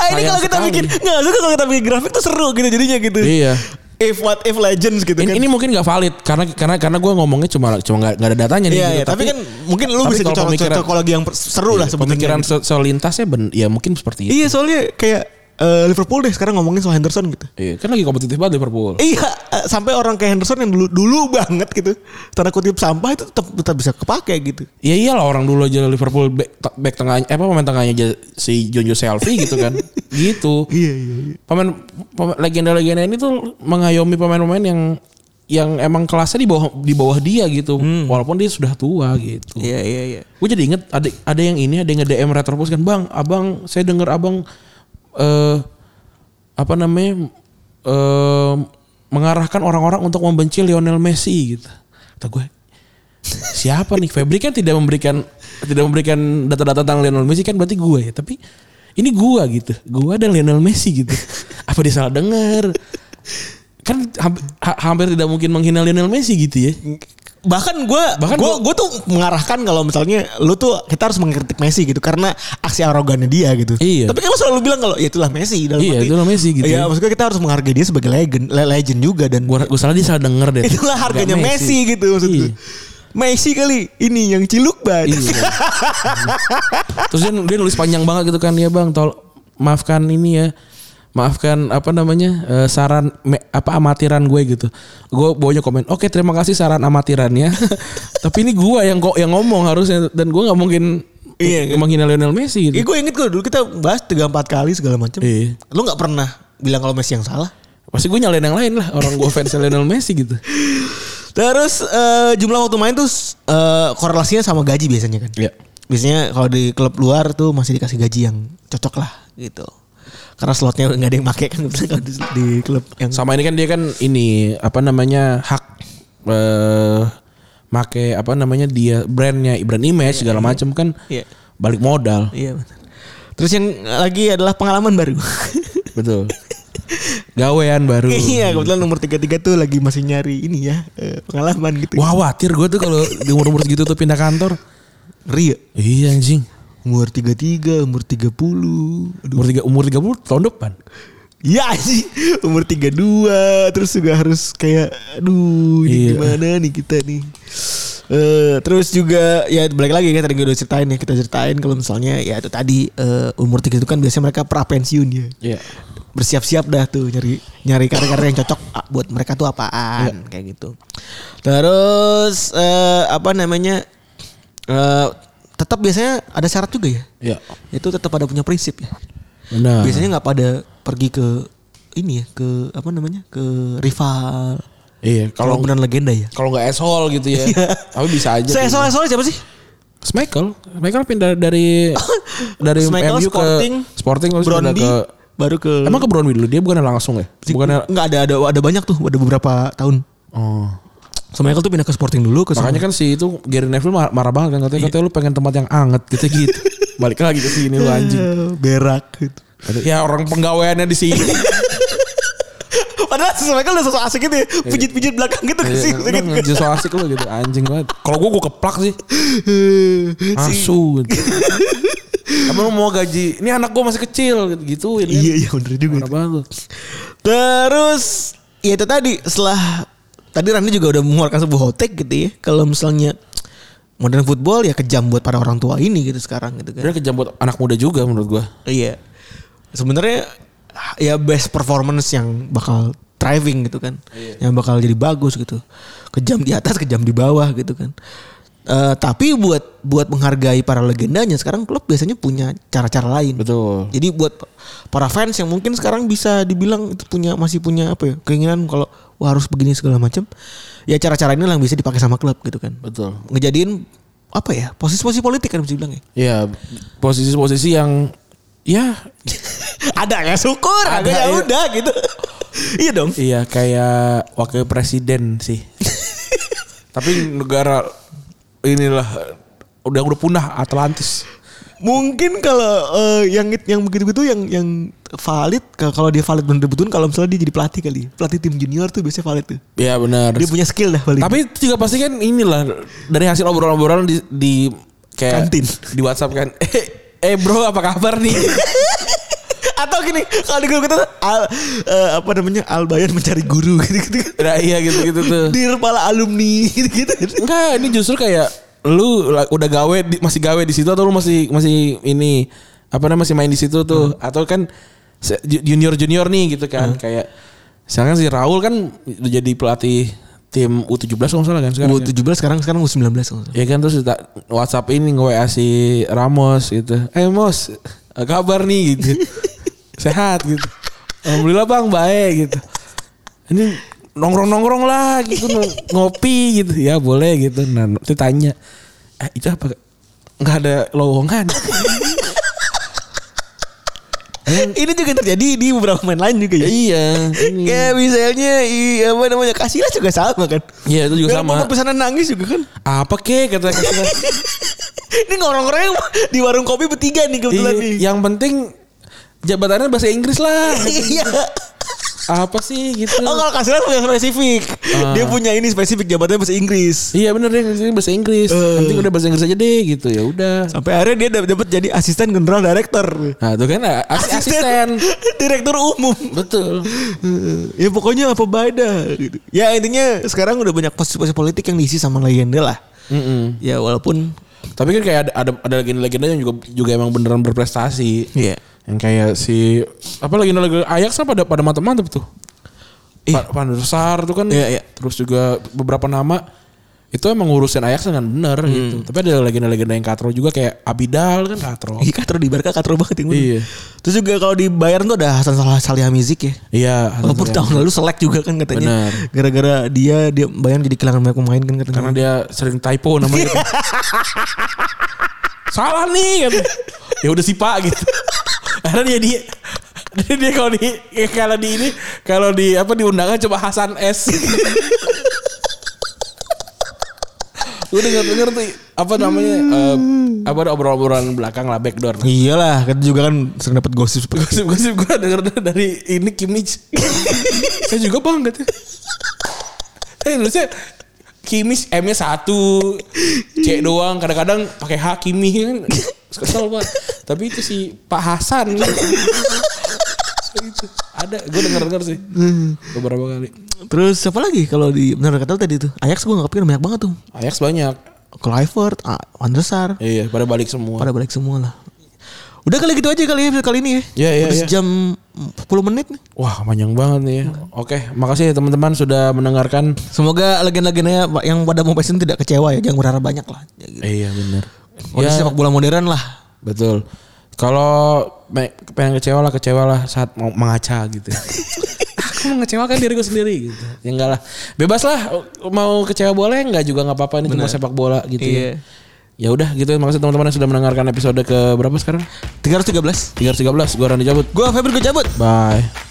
Speaker 3: Ah,
Speaker 2: Sayang
Speaker 3: ini kalau kita
Speaker 2: sekali.
Speaker 3: bikin nggak suka kalau kita bikin grafik tuh seru gitu jadinya gitu.
Speaker 2: Iya.
Speaker 3: If what if legends gitu
Speaker 2: Ini, iya,
Speaker 3: kan.
Speaker 2: ini mungkin nggak valid karena karena karena gue ngomongnya cuma cuma nggak nggak ada datanya nih.
Speaker 3: Iya,
Speaker 2: gitu.
Speaker 3: iya, tapi, kan mungkin lu
Speaker 2: tapi
Speaker 3: bisa
Speaker 2: kalau
Speaker 3: dicolok
Speaker 2: pemikiran- Iya,
Speaker 3: kalau lagi yang per- seru lah sebetulnya.
Speaker 2: pemikiran se- selintasnya ben, ya mungkin seperti itu.
Speaker 3: Iya, soalnya kayak eh, Liverpool deh sekarang ngomongin soal Henderson gitu.
Speaker 2: Iya, kan lagi kompetitif banget Liverpool.
Speaker 3: Iya, eh, sampai orang kayak Henderson yang dulu dulu banget gitu. Tanda kutip sampah itu tetap tetap bisa kepake gitu.
Speaker 2: Ya iyalah orang dulu aja Liverpool back, back tengahnya eh, apa pemain tengahnya aja si Jonjo Selfie gitu kan. gitu.
Speaker 3: Iya, iya, iya.
Speaker 2: Pemain, pemain- legenda-legenda ini tuh mengayomi pemain-pemain yang yang emang kelasnya di bawah di bawah dia gitu. Walaupun dia sudah tua gitu.
Speaker 3: Hmm. Iya, iya, iya.
Speaker 2: Gue jadi inget ada ada yang ini ada yang nge-DM Retropos kan, "Bang, Abang, saya denger Abang eh apa namanya? eh mengarahkan orang-orang untuk membenci Lionel Messi gitu." Kata gue, siapa nih Febri kan tidak memberikan tidak memberikan data-data tentang Lionel Messi kan berarti gue ya tapi ini gue gitu gue dan Lionel Messi gitu apa dia salah dengar kan hampir, ha- hampir tidak mungkin menghina Lionel Messi gitu ya
Speaker 3: Bahkan gue
Speaker 2: Bahkan
Speaker 3: gue
Speaker 2: gua-
Speaker 3: gue tuh mengarahkan kalau misalnya lu tuh kita harus mengkritik Messi gitu karena aksi arogannya dia gitu.
Speaker 2: Iya.
Speaker 3: Tapi kan lu selalu bilang kalau ya itulah Messi dalam
Speaker 2: Iya,
Speaker 3: arti-
Speaker 2: itulah Messi gitu.
Speaker 3: Iya, maksudnya kita harus menghargai dia sebagai legend, le- legend juga dan
Speaker 2: gue gue salah dia salah dengar deh
Speaker 3: itulah harganya
Speaker 2: Bukan
Speaker 3: Messi. gitu maksud
Speaker 2: Iya.
Speaker 3: gue. Messi kali ini yang ciluk banget.
Speaker 2: Iya. Terus dia, dia nulis panjang banget gitu kan ya bang, tol maafkan ini ya, maafkan apa namanya eh, saran me- apa amatiran gue gitu. Gue bawanya komen, oke terima kasih saran amatirannya. Tapi ini gue yang kok yang ngomong harusnya dan gue nggak mungkin
Speaker 3: Iya, kan?
Speaker 2: menghina Lionel Messi
Speaker 3: Iya,
Speaker 2: gitu.
Speaker 3: gue inget kok dulu kita bahas tiga empat kali segala macam.
Speaker 2: Iya.
Speaker 3: Lu nggak pernah bilang kalau Messi yang salah.
Speaker 2: Pasti gue nyalain yang lain lah orang gue fans Lionel Messi gitu.
Speaker 3: Terus eh, jumlah waktu main tuh eh, korelasinya sama gaji biasanya kan?
Speaker 2: Iya.
Speaker 3: Biasanya kalau di klub luar tuh masih dikasih gaji yang cocok lah gitu. Karena slotnya nggak ada yang pakai kan biasanya kalau di, di klub yang
Speaker 2: Sama ini kan dia kan ini apa namanya hak eh make apa namanya dia brandnya brand image segala macam kan
Speaker 3: Iya.
Speaker 2: balik modal.
Speaker 3: Iya benar. Terus yang lagi adalah pengalaman baru.
Speaker 2: Betul. Gawean baru.
Speaker 3: Iya, kebetulan nomor 33 tuh lagi masih nyari ini ya, eh, pengalaman gitu.
Speaker 2: Wah khawatir gue tuh kalau di umur-umur segitu tuh pindah kantor.
Speaker 3: Ngeri ya?
Speaker 2: Iya anjing.
Speaker 3: Umur 33, umur 30. Aduh.
Speaker 2: Umur tiga umur 30 tahun depan.
Speaker 3: Ya sih, umur 32 terus juga harus kayak aduh ini
Speaker 2: Iya.
Speaker 3: gimana nih kita nih. Eh, terus juga ya balik lagi kan tadi gue udah ceritain ya kita ceritain kalau misalnya ya itu tadi eh, umur 3 itu kan biasanya mereka pra pensiun ya.
Speaker 2: Iya.
Speaker 3: Bersiap-siap dah tuh nyari nyari karya-karya yang cocok ah, buat mereka tuh apaan kayak gitu. Terus eh, apa namanya? eh, tetap biasanya ada syarat juga ya.
Speaker 2: Iya.
Speaker 3: Itu tetap ada punya prinsip ya
Speaker 2: Benar.
Speaker 3: biasanya nggak pada pergi ke ini ya ke apa namanya ke rival
Speaker 2: Iya.
Speaker 3: kalau
Speaker 2: Kalau
Speaker 3: benar legenda ya
Speaker 2: kalau nggak asshole gitu ya. Tapi bisa aja. gitu.
Speaker 3: saya soal soal siapa sih
Speaker 2: Michael, Michael pindah dari dari
Speaker 3: Michael,
Speaker 2: MU
Speaker 3: Sporting,
Speaker 2: ke Sporting terus pindah
Speaker 3: Brondi
Speaker 2: ke
Speaker 3: baru ke
Speaker 2: Emang ke Brownby dulu dia bukan langsung ya? Bukannya
Speaker 3: nggak ada ada ada banyak tuh ada beberapa tahun
Speaker 2: Oh.
Speaker 3: so Michael tuh pindah ke Sporting dulu ke
Speaker 2: Makanya kan si itu Gary Neville mar- marah banget kan katanya katanya lu pengen tempat yang anget gitu gitu. Balik lagi ke sini lu anjing.
Speaker 3: berak gitu
Speaker 2: Ya orang penggaweannya di sini.
Speaker 3: padahal si Michael udah sosok asik gitu ya pijit-pijit belakang gitu
Speaker 2: Iya,
Speaker 3: ke sini
Speaker 2: Lu ngejelas so asik lu gitu anjing banget. Kalau gua gua keplak sih. Asu. gitu. Apa lu mau gaji? Ini anak gua masih kecil gitu gituin kan.
Speaker 3: iya iya bener juga
Speaker 2: Marah banget lu.
Speaker 3: Terus ya itu tadi setelah tadi Randy juga udah mengeluarkan sebuah hotek gitu ya. Kalau misalnya modern football ya kejam buat para orang tua ini gitu sekarang gitu kan.
Speaker 2: Sebenarnya kejam buat anak muda juga menurut gua.
Speaker 3: Iya. Sebenarnya ya best performance yang bakal thriving gitu kan. Yang bakal jadi bagus gitu. Kejam di atas, kejam di bawah gitu kan. Eh, tapi buat buat menghargai para legendanya sekarang klub biasanya punya cara-cara lain.
Speaker 2: Betul.
Speaker 3: Jadi buat para fans yang mungkin sekarang bisa dibilang itu punya masih punya apa ya keinginan kalau wah harus begini segala macam, ya cara-cara ini yang bisa dipakai sama klub gitu kan.
Speaker 2: Betul.
Speaker 3: Ngejadiin apa ya posisi-posisi politik kan bisa dibilang ya.
Speaker 2: Ya, posisi-posisi yang ya
Speaker 3: ada ya syukur, ada,
Speaker 2: Ada,
Speaker 3: ya
Speaker 2: iya.
Speaker 3: udah gitu. iya dong.
Speaker 2: iya kayak wakil presiden sih. Tapi negara inilah udah udah punah Atlantis.
Speaker 3: Mungkin kalau eh, yang yang begitu-begitu yang yang valid kalau dia valid bener-bener kalau misalnya dia jadi pelatih kali. Pelatih tim junior tuh biasanya valid tuh.
Speaker 2: Ya benar.
Speaker 3: Dia punya skill dah paling.
Speaker 2: Tapi itu juga pasti kan inilah dari hasil obrolan-obrolan di, di kayak
Speaker 3: Kantin.
Speaker 2: di WhatsApp kan. Eh, eh bro apa kabar nih?
Speaker 3: atau gini kalau di grup kita tuh, al, eh, apa namanya Albayan mencari guru gitu-gitu
Speaker 2: nah, iya gitu-gitu tuh.
Speaker 3: di kepala alumni gitu-gitu
Speaker 2: Enggak, ini justru kayak lu la- udah gawe di- masih gawe di situ atau lu masih masih ini apa namanya masih main di situ tuh
Speaker 3: Hmm.
Speaker 2: atau kan junior junior nih gitu kan kayak misalkan si Raul kan udah jadi pelatih tim U17 kalau nggak salah kan sekarang. kan?
Speaker 3: U17 sekarang sekarang U19 kalau nggak salah.
Speaker 2: Ya kan terus kita WhatsApp ini nge WA si Ramos gitu. Eh Mos, apa kabar nih gitu. Sehat gitu. Alhamdulillah Bang baik gitu. Ini nongkrong-nongkrong lah gitu no- ngopi gitu ya boleh gitu. Nah, itu tanya. Eh, itu apa? Enggak ada lowongan.
Speaker 3: ini juga terjadi di beberapa pemain lain juga ya
Speaker 2: iya.
Speaker 3: kayak misalnya i, apa namanya Kasila juga sama kan
Speaker 2: Iya, itu juga
Speaker 3: Yang
Speaker 2: sama.
Speaker 3: pokok pesanan nangis juga kan
Speaker 2: Apa kek kata kata
Speaker 3: ini ngorong-ngorong yang di warung kopi bertiga nih kebetulan nih
Speaker 2: Iya, Yang penting jabatannya bahasa Inggris lah.
Speaker 3: iya
Speaker 2: Apa sih gitu.
Speaker 3: Oh kalau Kasila punya spesifik
Speaker 2: Ah.
Speaker 3: Dia punya ini spesifik Jabatannya bahasa Inggris
Speaker 2: Iya bener deh ini bahasa Inggris.
Speaker 3: Eh.
Speaker 2: Nanti udah bahasa Inggris aja deh gitu ya udah.
Speaker 3: Sampai akhirnya dia dapat jadi asisten general director
Speaker 2: Nah itu kan as- asisten.
Speaker 3: Direktur umum
Speaker 2: Betul.
Speaker 3: ya pokoknya apa beda gitu. Ya intinya sekarang udah banyak posisi-posisi politik yang diisi sama legenda lah.
Speaker 2: Mm-mm.
Speaker 3: Ya walaupun
Speaker 2: Tapi kan kayak ada ada, ada legenda-legenda yang juga juga emang beneran berprestasi.
Speaker 3: Iya.
Speaker 2: Yang kayak si apa legenda legenda Ajax kan pada pada mantep-mantep tuh.
Speaker 3: Iya.
Speaker 2: Iya. Van der Sar tuh kan.
Speaker 3: Iya, iya.
Speaker 2: Terus juga beberapa nama itu emang ngurusin Ajax dengan bener
Speaker 3: Hmm.
Speaker 2: gitu. Tapi ada legenda-legenda yang katro juga kayak Abidal kan katro.
Speaker 3: Ih, katro di Barca katro banget yang bener.
Speaker 2: Iya.
Speaker 3: Terus juga kalau di Bayern tuh ada Hasan Salah Salihamidzic ya.
Speaker 2: Iya. Hasan
Speaker 3: Walaupun tahun lalu selek juga kan katanya.
Speaker 2: Benar.
Speaker 3: Gara-gara dia dia Bayern jadi kehilangan banyak pemain kan katanya.
Speaker 2: karena dia sering typo namanya gitu. salah nih gitu. ya udah sih pak gitu karena dia dia dia, dia kalau di ya kalau di ini kalau di apa di undangan coba Hasan S Gue denger denger tuh apa namanya eh, apa ada obrolan-obrolan belakang lah backdoor.
Speaker 3: Iyalah, kita juga kan sering dapat gosip seperti
Speaker 2: Gosip gosip gue denger dari ini Kimich. Saya juga Eh, banget. ya. Saya nulisnya Kimich M-nya satu, C doang. Kadang-kadang pakai H Kimi kan. Kesel banget. Tapi itu si Pak Hasan. Itu. ada gue denger denger sih beberapa kali.
Speaker 3: Terus siapa lagi kalau di benar kata lu tadi tuh? Ajax gue nggak kepikiran banyak banget tuh.
Speaker 2: Ajax banyak.
Speaker 3: Clifford, ah, Van der Sar,
Speaker 2: Iya, pada balik semua.
Speaker 3: pada balik semua lah. Udah kali gitu aja kali ya, kali ini ya.
Speaker 2: Iya, iya,
Speaker 3: Udah
Speaker 2: iya.
Speaker 3: sejam 10 menit nih.
Speaker 2: Wah panjang banget nih. ya. Oke, makasih ya teman-teman sudah mendengarkan.
Speaker 3: Semoga legenda-legendanya yang pada mau pensiun tidak kecewa ya. Jangan berharap banyak lah. Ya, gitu.
Speaker 2: Iya benar.
Speaker 3: Kondisi sepak bola modern lah.
Speaker 2: Betul. Kalau me- pengen kecewa lah kecewa lah saat mau mengaca gitu. Aku mengecewakan diriku sendiri gitu. Ya enggak lah. Bebas lah mau kecewa boleh enggak juga nggak apa-apa ini cuma sepak bola gitu.
Speaker 3: Iya.
Speaker 2: ya. Ya udah gitu. Makasih teman-teman yang sudah mendengarkan episode ke berapa sekarang?
Speaker 3: 313.
Speaker 2: 313. Gua Randy cabut.
Speaker 3: Gua Febri gue cabut.
Speaker 2: Bye.